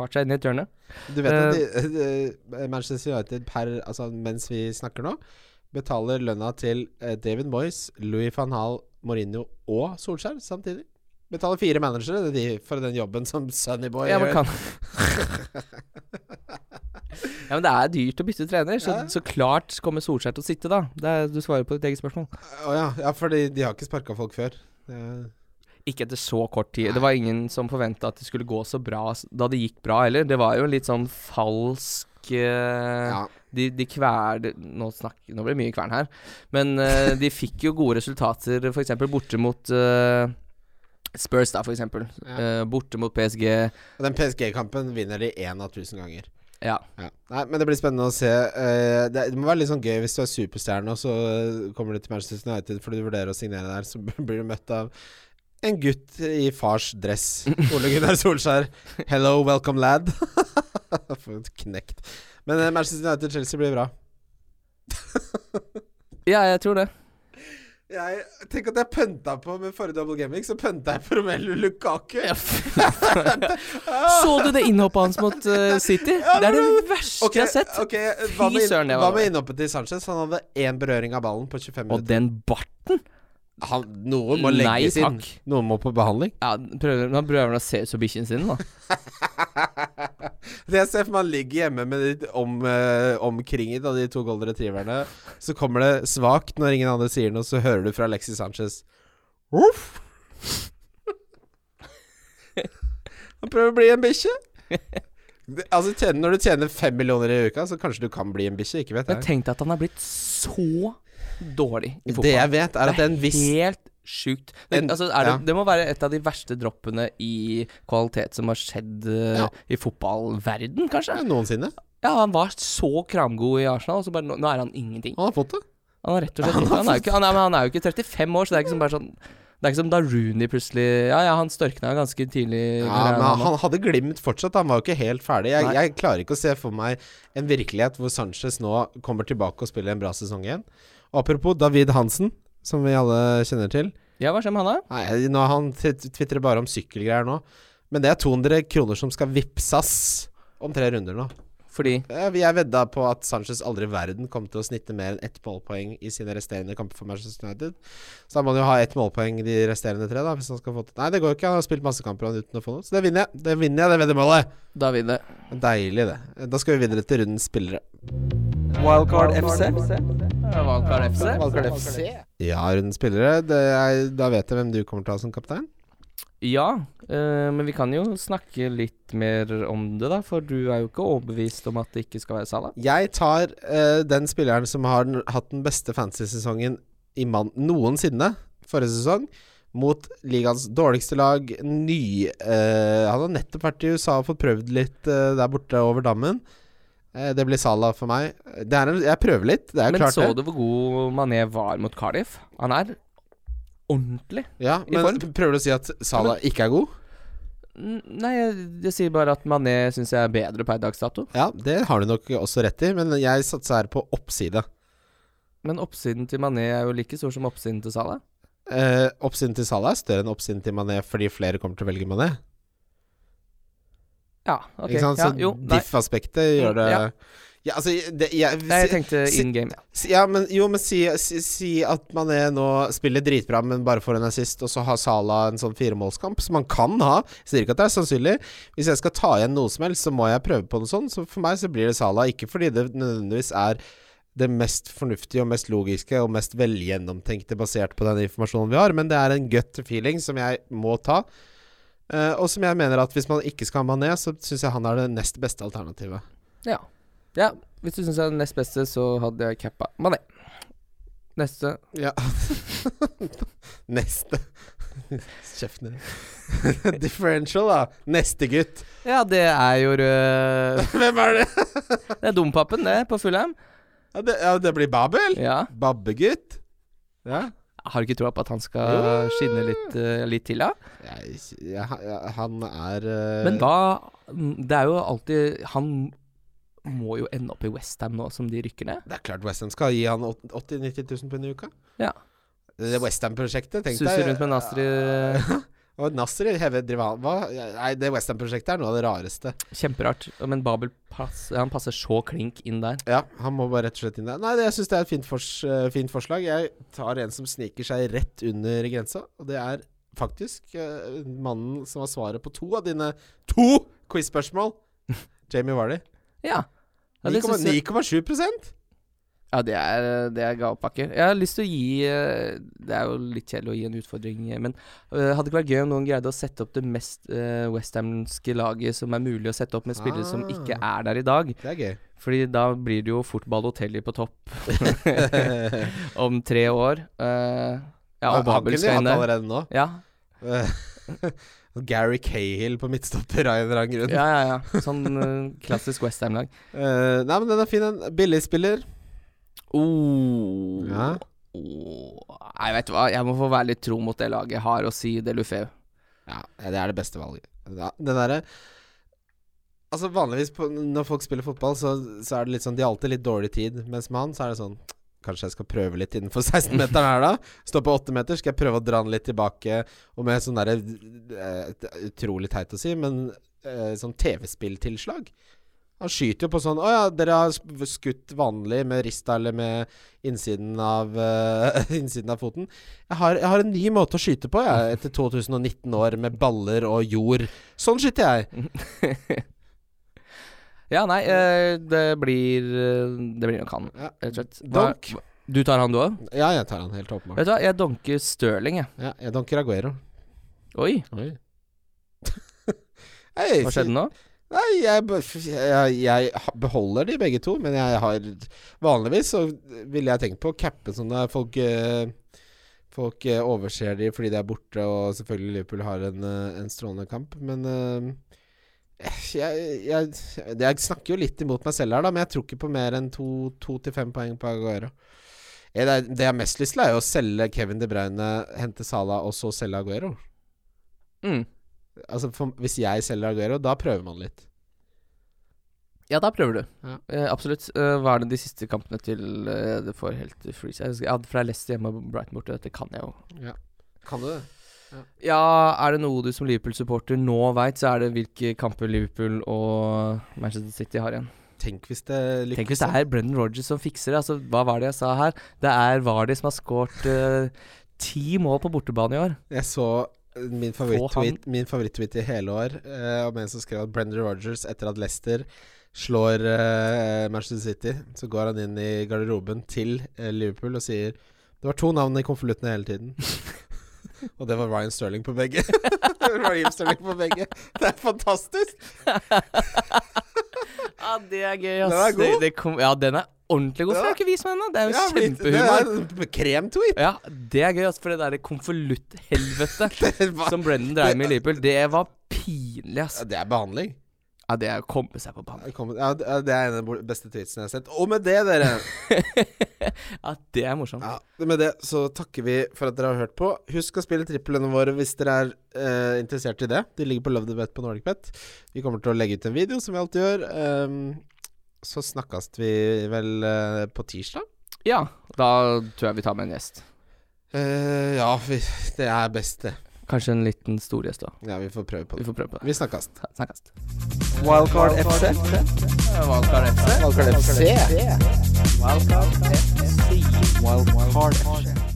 Speaker 2: malt seg inn i et hjørne.
Speaker 3: Du vet at de, eh, Manchester United per, altså mens vi snakker nå, betaler lønna til eh, David Moyes, Louis van Hall, Mourinho og Solskjær samtidig. Betaler fire managere de, for den jobben som Sunnyboy
Speaker 2: Ja, men
Speaker 3: gjør. *laughs*
Speaker 2: kan Ja, men det er dyrt å bytte trener, så,
Speaker 3: Ja.
Speaker 2: så klart kommer Solskjær til å sitte, da. Det er, du svarer på ditt eget spørsmål.
Speaker 3: Å ja, ja, for de, de har ikke sparka folk før. Eh, Det-
Speaker 2: Ikke etter så kort tid. Det var ingen som forventa at det skulle gå så bra s- da det gikk bra heller. Det var jo en litt sånn falsk eh,
Speaker 3: ja.
Speaker 2: De, de kveler nå, snakk, nå blir det mye kvern her. Men eh, de fikk jo gode resultater, f.eks. borte mot eh, Spurs, da, f.eks.
Speaker 3: Ja.
Speaker 2: Eh, borte mot PSG.
Speaker 3: Og den PSG-kampen vinner de én av tusen ganger.
Speaker 2: Ja.
Speaker 3: Ja. Nei, men det blir spennende å se. Eh, det, det må være litt sånn gøy hvis du er superstjerne, og så eh, kommer du til Manchester United fordi du vurderer å signere der, så *laughs* blir du møtt av en gutt i fars dress. Ole Gunnar Solskjær. 'Hello, welcome, lad'. *laughs* For et knekt. Men eh, Manchester United-Chelsea blir bra.
Speaker 2: ja, jeg tror det.
Speaker 3: *laughs* Jeg, tenk at jeg pønta på med forrige double gaming, så pønta jeg på Romelu Lukaku. *laughs* Ah!
Speaker 2: Så du det innhoppet hans mot eh, City?
Speaker 3: Ja,
Speaker 2: det er
Speaker 3: men-
Speaker 2: det verste
Speaker 3: Ok,
Speaker 2: jeg har sett.
Speaker 3: ok, hva med,
Speaker 2: Fy søren, det
Speaker 3: hva
Speaker 2: var-
Speaker 3: med innhoppet til Sanchez? Han hadde én berøring av ballen på 25
Speaker 2: Og
Speaker 3: minutter.
Speaker 2: den barten!
Speaker 3: Han, noen må
Speaker 2: Nei
Speaker 3: legges inn.
Speaker 2: takk.
Speaker 3: Noen må på behandling.
Speaker 2: Ja, prøver, han prøver å se ut som bikkjen sin, da.
Speaker 3: Det jeg ser for meg han ligger hjemme med de om, eh, omkringet av de to golden retrieverne. Så kommer det svakt når ingen andre sier noe, så hører du fra Alexis Sanchez Uff. Han prøver å bli en bikkje. Det- Altså, tjener- når du tjener fem millioner i uka, så kanskje du kan bli en bikkje. Ikke vet
Speaker 2: Men
Speaker 3: jeg.
Speaker 2: tenk deg at han er blitt så dårlig i fotball.
Speaker 3: Det jeg vet, er at det er en viss
Speaker 2: Helt sjukt. Det,
Speaker 3: En-
Speaker 2: altså, er det,
Speaker 3: ja.
Speaker 2: det må være et av de verste droppene i kvalitet som har skjedd eh,
Speaker 3: Ja.
Speaker 2: i fotballverden, kanskje.
Speaker 3: Ja, Noensinne.
Speaker 2: Ja, han var så kramgod i Arsenal, og så bare nå, nå er han ingenting.
Speaker 3: Han har fått det.
Speaker 2: Han er rett og slett Han er jo ikke, han er, men han er jo ikke 35 år, så det er ikke som bare sånn det er ikke som da Rooney plutselig Ja, ja, han størkna ganske tidlig.
Speaker 3: Ja,
Speaker 2: i karrieren,
Speaker 3: men
Speaker 2: han
Speaker 3: han, han
Speaker 2: også.
Speaker 3: hadde glimt fortsatt. Han var jo ikke helt ferdig. Jeg,
Speaker 2: Nei.
Speaker 3: jeg klarer ikke å se for meg en virkelighet hvor Sanchez nå kommer tilbake og spiller en bra sesong igjen. Og apropos David Hansen, som vi alle kjenner til.
Speaker 2: Ja, hva skjer med han da?
Speaker 3: Nei, nå, Han tvitrer bare om sykkelgreier nå. Men det er 200 kroner som skal vippsas om tre runder nå.
Speaker 2: Fordi
Speaker 3: Eh, Jeg vedda på at Sanchez aldri i verden kom til å snitte mer enn ett målpoeng i sine resterende kamper for Manchester United. Så da må han jo ha ett målpoeng de resterende tre, da. Hvis han skal få til Nei, det går ikke. Han har spilt masse kamper han uten å få noe. Så det vinner jeg. Det vinner jeg, det veddemålet.
Speaker 2: Davide
Speaker 3: Deilig, det. Da skal vi videre til rundens spillere.
Speaker 1: Wildcard FC.
Speaker 2: Wildcard FC.
Speaker 1: Wildcard FC.
Speaker 3: Ja, rundens spillere. Det er, da vet jeg hvem du kommer til å ha som kaptein.
Speaker 2: Ja, eh, men vi kan jo snakke litt mer om det, da. For du er jo ikke overbevist om at det ikke skal være Salah.
Speaker 3: Jeg tar eh, den spilleren som har den, hatt den beste fantasy-sesongen i mann- noensinne forrige sesong, mot ligaens dårligste lag. Ny eh, Han har nettopp vært i USA og fått prøvd litt eh, der borte over dammen. Eh, det blir Salah for meg. Det er en, jeg prøver litt, det er
Speaker 2: Men
Speaker 3: klart
Speaker 2: så
Speaker 3: det.
Speaker 2: du hvor god Mané var mot Cardiff? Han er ordentlig.
Speaker 3: Ja,
Speaker 2: i
Speaker 3: men
Speaker 2: form.
Speaker 3: prøver du å si at Salah ikke er god?
Speaker 2: N- Nei, jeg, jeg sier bare at Mané syns jeg er bedre per dags dato.
Speaker 3: Ja, det har du nok også rett i, men jeg satser her på oppside.
Speaker 2: Men oppsiden til Mané er jo like stor som oppsiden til Salah.
Speaker 3: Eh, oppsiden til Salah er større enn oppsiden til Mané fordi flere kommer til å velge Mané.
Speaker 2: Ja, ok.
Speaker 3: Ikke sant? Så
Speaker 2: ja, jo, nei. Mm,
Speaker 3: diff-aspektet gjør det ja.
Speaker 2: Ja.
Speaker 3: altså det, jeg,
Speaker 2: nei, jeg tenkte
Speaker 3: si-
Speaker 2: in game.
Speaker 3: si, ja, men, Jo, men si, si, si at Mané nå spiller dritbra, men bare får en assist, og så har Salah en sånn firemålskamp, som han kan ha. Jeg Sier ikke at det er sannsynlig. Hvis jeg skal ta igjen noe som helst, så må jeg prøve på noe sånt. Så for meg så blir det Salah, ikke fordi det nødvendigvis er det mest fornuftige og mest logiske og mest velgjennomtenkte basert på den informasjonen vi har, men det er en gut feeling som jeg må ta. Eh, og som jeg mener at hvis man ikke skal ha Mané, så syns jeg han er det nest beste alternativet.
Speaker 2: Ja. ja. Hvis du syns jeg er den nest beste, så hadde jeg cappa Mané. Neste.
Speaker 3: Ja. *laughs* Neste. Kjeften
Speaker 2: *laughs*
Speaker 3: din. Differential, da. Neste gutt.
Speaker 2: Ja, det er jo øh,
Speaker 3: Hvem er det?
Speaker 2: *laughs* Det er dompapen, det, på Fulham.
Speaker 3: Ja, det, ja, det blir Babel.
Speaker 2: Ja.
Speaker 3: Babbegutt. Ja.
Speaker 2: Jeg har du ikke troa på at han skal skinne litt, øh, litt til, da?
Speaker 3: Jeg, jeg, jeg, han er eh,
Speaker 2: Men da Det er jo alltid Han må jo ende opp i Westham nå som de rykker ned.
Speaker 3: Det er klart Westham skal gi han åt- 80 000-90 000 på en uke.
Speaker 2: Ja.
Speaker 3: Det Westham-prosjektet, tenk
Speaker 2: Suser rundt med Nasri.
Speaker 3: Og Nasri hever drivan... Hva? Nei, det Westham-prosjektet er noe av det rareste.
Speaker 2: *laughs* Kjemperart. Men Babel pass, han passer så klink inn der.
Speaker 3: Ja, han må bare rett og slett inn der. Nei, det, jeg syns det er et fint, fors, eh, fint forslag. Jeg tar en som sniker seg rett under grensa, og det er faktisk eh, mannen som har svaret på to av dine to
Speaker 2: *laughs*
Speaker 3: quiz-spørsmål. Jamie Vardy.
Speaker 2: Ja. Ja, det synes jeg-
Speaker 3: 9,7
Speaker 2: ja, det er, det er gavepakke. Jeg har lyst til å gi eh, Det er jo litt kjedelig å gi en utfordring, eh, men eh, hadde ikke vært gøy om noen greide å sette opp det mest eh, westhamske laget som er mulig å sette opp med spillere som
Speaker 3: Ah.
Speaker 2: ikke er der i dag.
Speaker 3: Det er gøy.
Speaker 2: *laughs* Fordi da blir det jo fort Balotelli på topp om tre år. Eh, ja, og Babel
Speaker 3: Han kunne vi
Speaker 2: skal inn
Speaker 3: hatt
Speaker 2: der.
Speaker 3: allerede nå.
Speaker 2: Ja,
Speaker 3: Og *laughs* Gary Cahill på midtstopper av en eller annen grunn.
Speaker 2: ja, ja. ja. Sånn eh, klassisk Westham-lag.
Speaker 3: Eh, nei, men den er fin, en. Billig spiller.
Speaker 2: Oh.
Speaker 3: Ja.
Speaker 2: Åh, Nei, vet du hva, jeg må få være litt tro mot det laget jeg har, og si det Lufeu.
Speaker 3: Ja, det er det beste valget. Ja, den derre Altså Vanligvis på, når folk spiller fotball, så, så er det litt sånn De har alltid litt dårlig tid, mens med han så er det sånn Kanskje jeg skal prøve litt innenfor *laughs* 16-meteren her, da? Stå på 8-meter, skal jeg prøve å dra den litt tilbake. Og med sånn derre eh, det er Utrolig teit å si, men eh, sånn TV-spilltilslag. Han skyter jo på sånn Å ja, dere har sp- skutt vanlig med rista eller med innsiden av, eh, *laughs* innsiden av foten. Jeg har, jeg har en ny måte å skyte på, jeg, etter 2019 år med baller og jord. Sånn skyter jeg.
Speaker 2: Ja, nei, eh, det blir eh, Det blir nok han,
Speaker 3: Ja.
Speaker 2: rett og slett. Hva-
Speaker 3: Donk.
Speaker 2: Du tar han, du òg?
Speaker 3: Ja, jeg tar han helt åpenbart.
Speaker 2: Vet du hva, jeg donker Stirling, jeg.
Speaker 3: Ja, jeg donker Aguero.
Speaker 2: Oi,
Speaker 3: Oi. *laughs* Hei,
Speaker 2: hva skjedde nå?
Speaker 3: Nei, jeg, be- f- jeg, jeg ha- beholder de begge to, men jeg har Vanligvis så ville jeg tenkt på å cappe sånn der folk eh, Folk eh, overser de fordi de er borte, og selvfølgelig Liverpool har en, eh, en strålende kamp, men eh, jeg, jeg, jeg snakker jo litt imot meg selv her, da, men jeg tror ikke på mer enn to to til fem poeng på Aguero. Eh, Det, er- det jeg har mest lyst til, er jo å selge Kevin De Bruyne, hente Salah og så selge Aguero.
Speaker 2: Mm.
Speaker 3: Altså, for, Hvis jeg selger Aguero, da prøver man litt.
Speaker 2: Ja, da prøver du.
Speaker 3: Ja.
Speaker 2: Eh, absolutt. Eh, hva er det de siste kampene til eh, det får helt freeze? Jeg husker, ja, fra Leicester hjemme og Brighton borte, dette kan jeg jo.
Speaker 3: Kan du det?
Speaker 2: Ja, er det noe du som Liverpool-supporter nå veit, så er det hvilke kamper Liverpool og Manchester City har igjen.
Speaker 3: Tenk hvis det lykkes.
Speaker 2: Tenk hvis det er Brendan Rodgers som fikser det. Altså, hva var det jeg sa her? Det er Vardy som har skåret eh, ti mål på bortebane i år.
Speaker 3: Jeg så eh, min favoritt-tweet min favoritt-tweet i hele år eh, om en som skrev at Brendan Rogers etter at Leicester slår eh, Manchester City, så går han inn i garderoben til eh, Liverpool og sier Det var to navn i konvoluttene hele tiden. *laughs* og det var Ryan Sterling på begge. *laughs* Raheem Sterling på begge. Det er fantastisk!
Speaker 2: Ja, det er gøy,
Speaker 3: Den er god.
Speaker 2: Det, det kom, ja, den er ordentlig god. for Jeg har ikke vist meg ennå. Det er jo
Speaker 3: Ja, blitt- det
Speaker 2: kjempehumor.
Speaker 3: er en Kremtweet! *laughs*
Speaker 2: Ja, det er gøy, ass, for det derre *laughs* konvolutthelvetet
Speaker 3: Det var-
Speaker 2: som Brendan dreiv med i Liverpool, det var pinlig, ass.
Speaker 3: Ja, det er behandling.
Speaker 2: Ja, det er å komme seg på banen.
Speaker 3: Jeg kommer- Ja, det ja, det er en av de bo- beste tweetsene jeg har sett. Og med det, dere
Speaker 2: Ja, det er morsomt.
Speaker 3: ja, Med det så takker vi for at dere har hørt på. Husk å spille triplene våre hvis dere er eh, interessert i det. De ligger på Love the Bet på NordicBet. Vi kommer til å legge ut en video, som vi alltid gjør. Ehm, så snakkes vi vel eh, på tirsdag?
Speaker 2: Ja, da tror jeg vi tar med en gjest.
Speaker 3: Eh, ja, vi, det er best, det.
Speaker 2: Kanskje en liten storgjest, da.
Speaker 3: Ja, vi får prøve på
Speaker 2: Vi
Speaker 3: det.
Speaker 2: får prøve på det.
Speaker 3: Vi snakkes.
Speaker 2: Ta- Snakkes.
Speaker 1: Wildcard FC.
Speaker 3: Wildcard FC.
Speaker 1: Wildcard FC. Wildcard FC.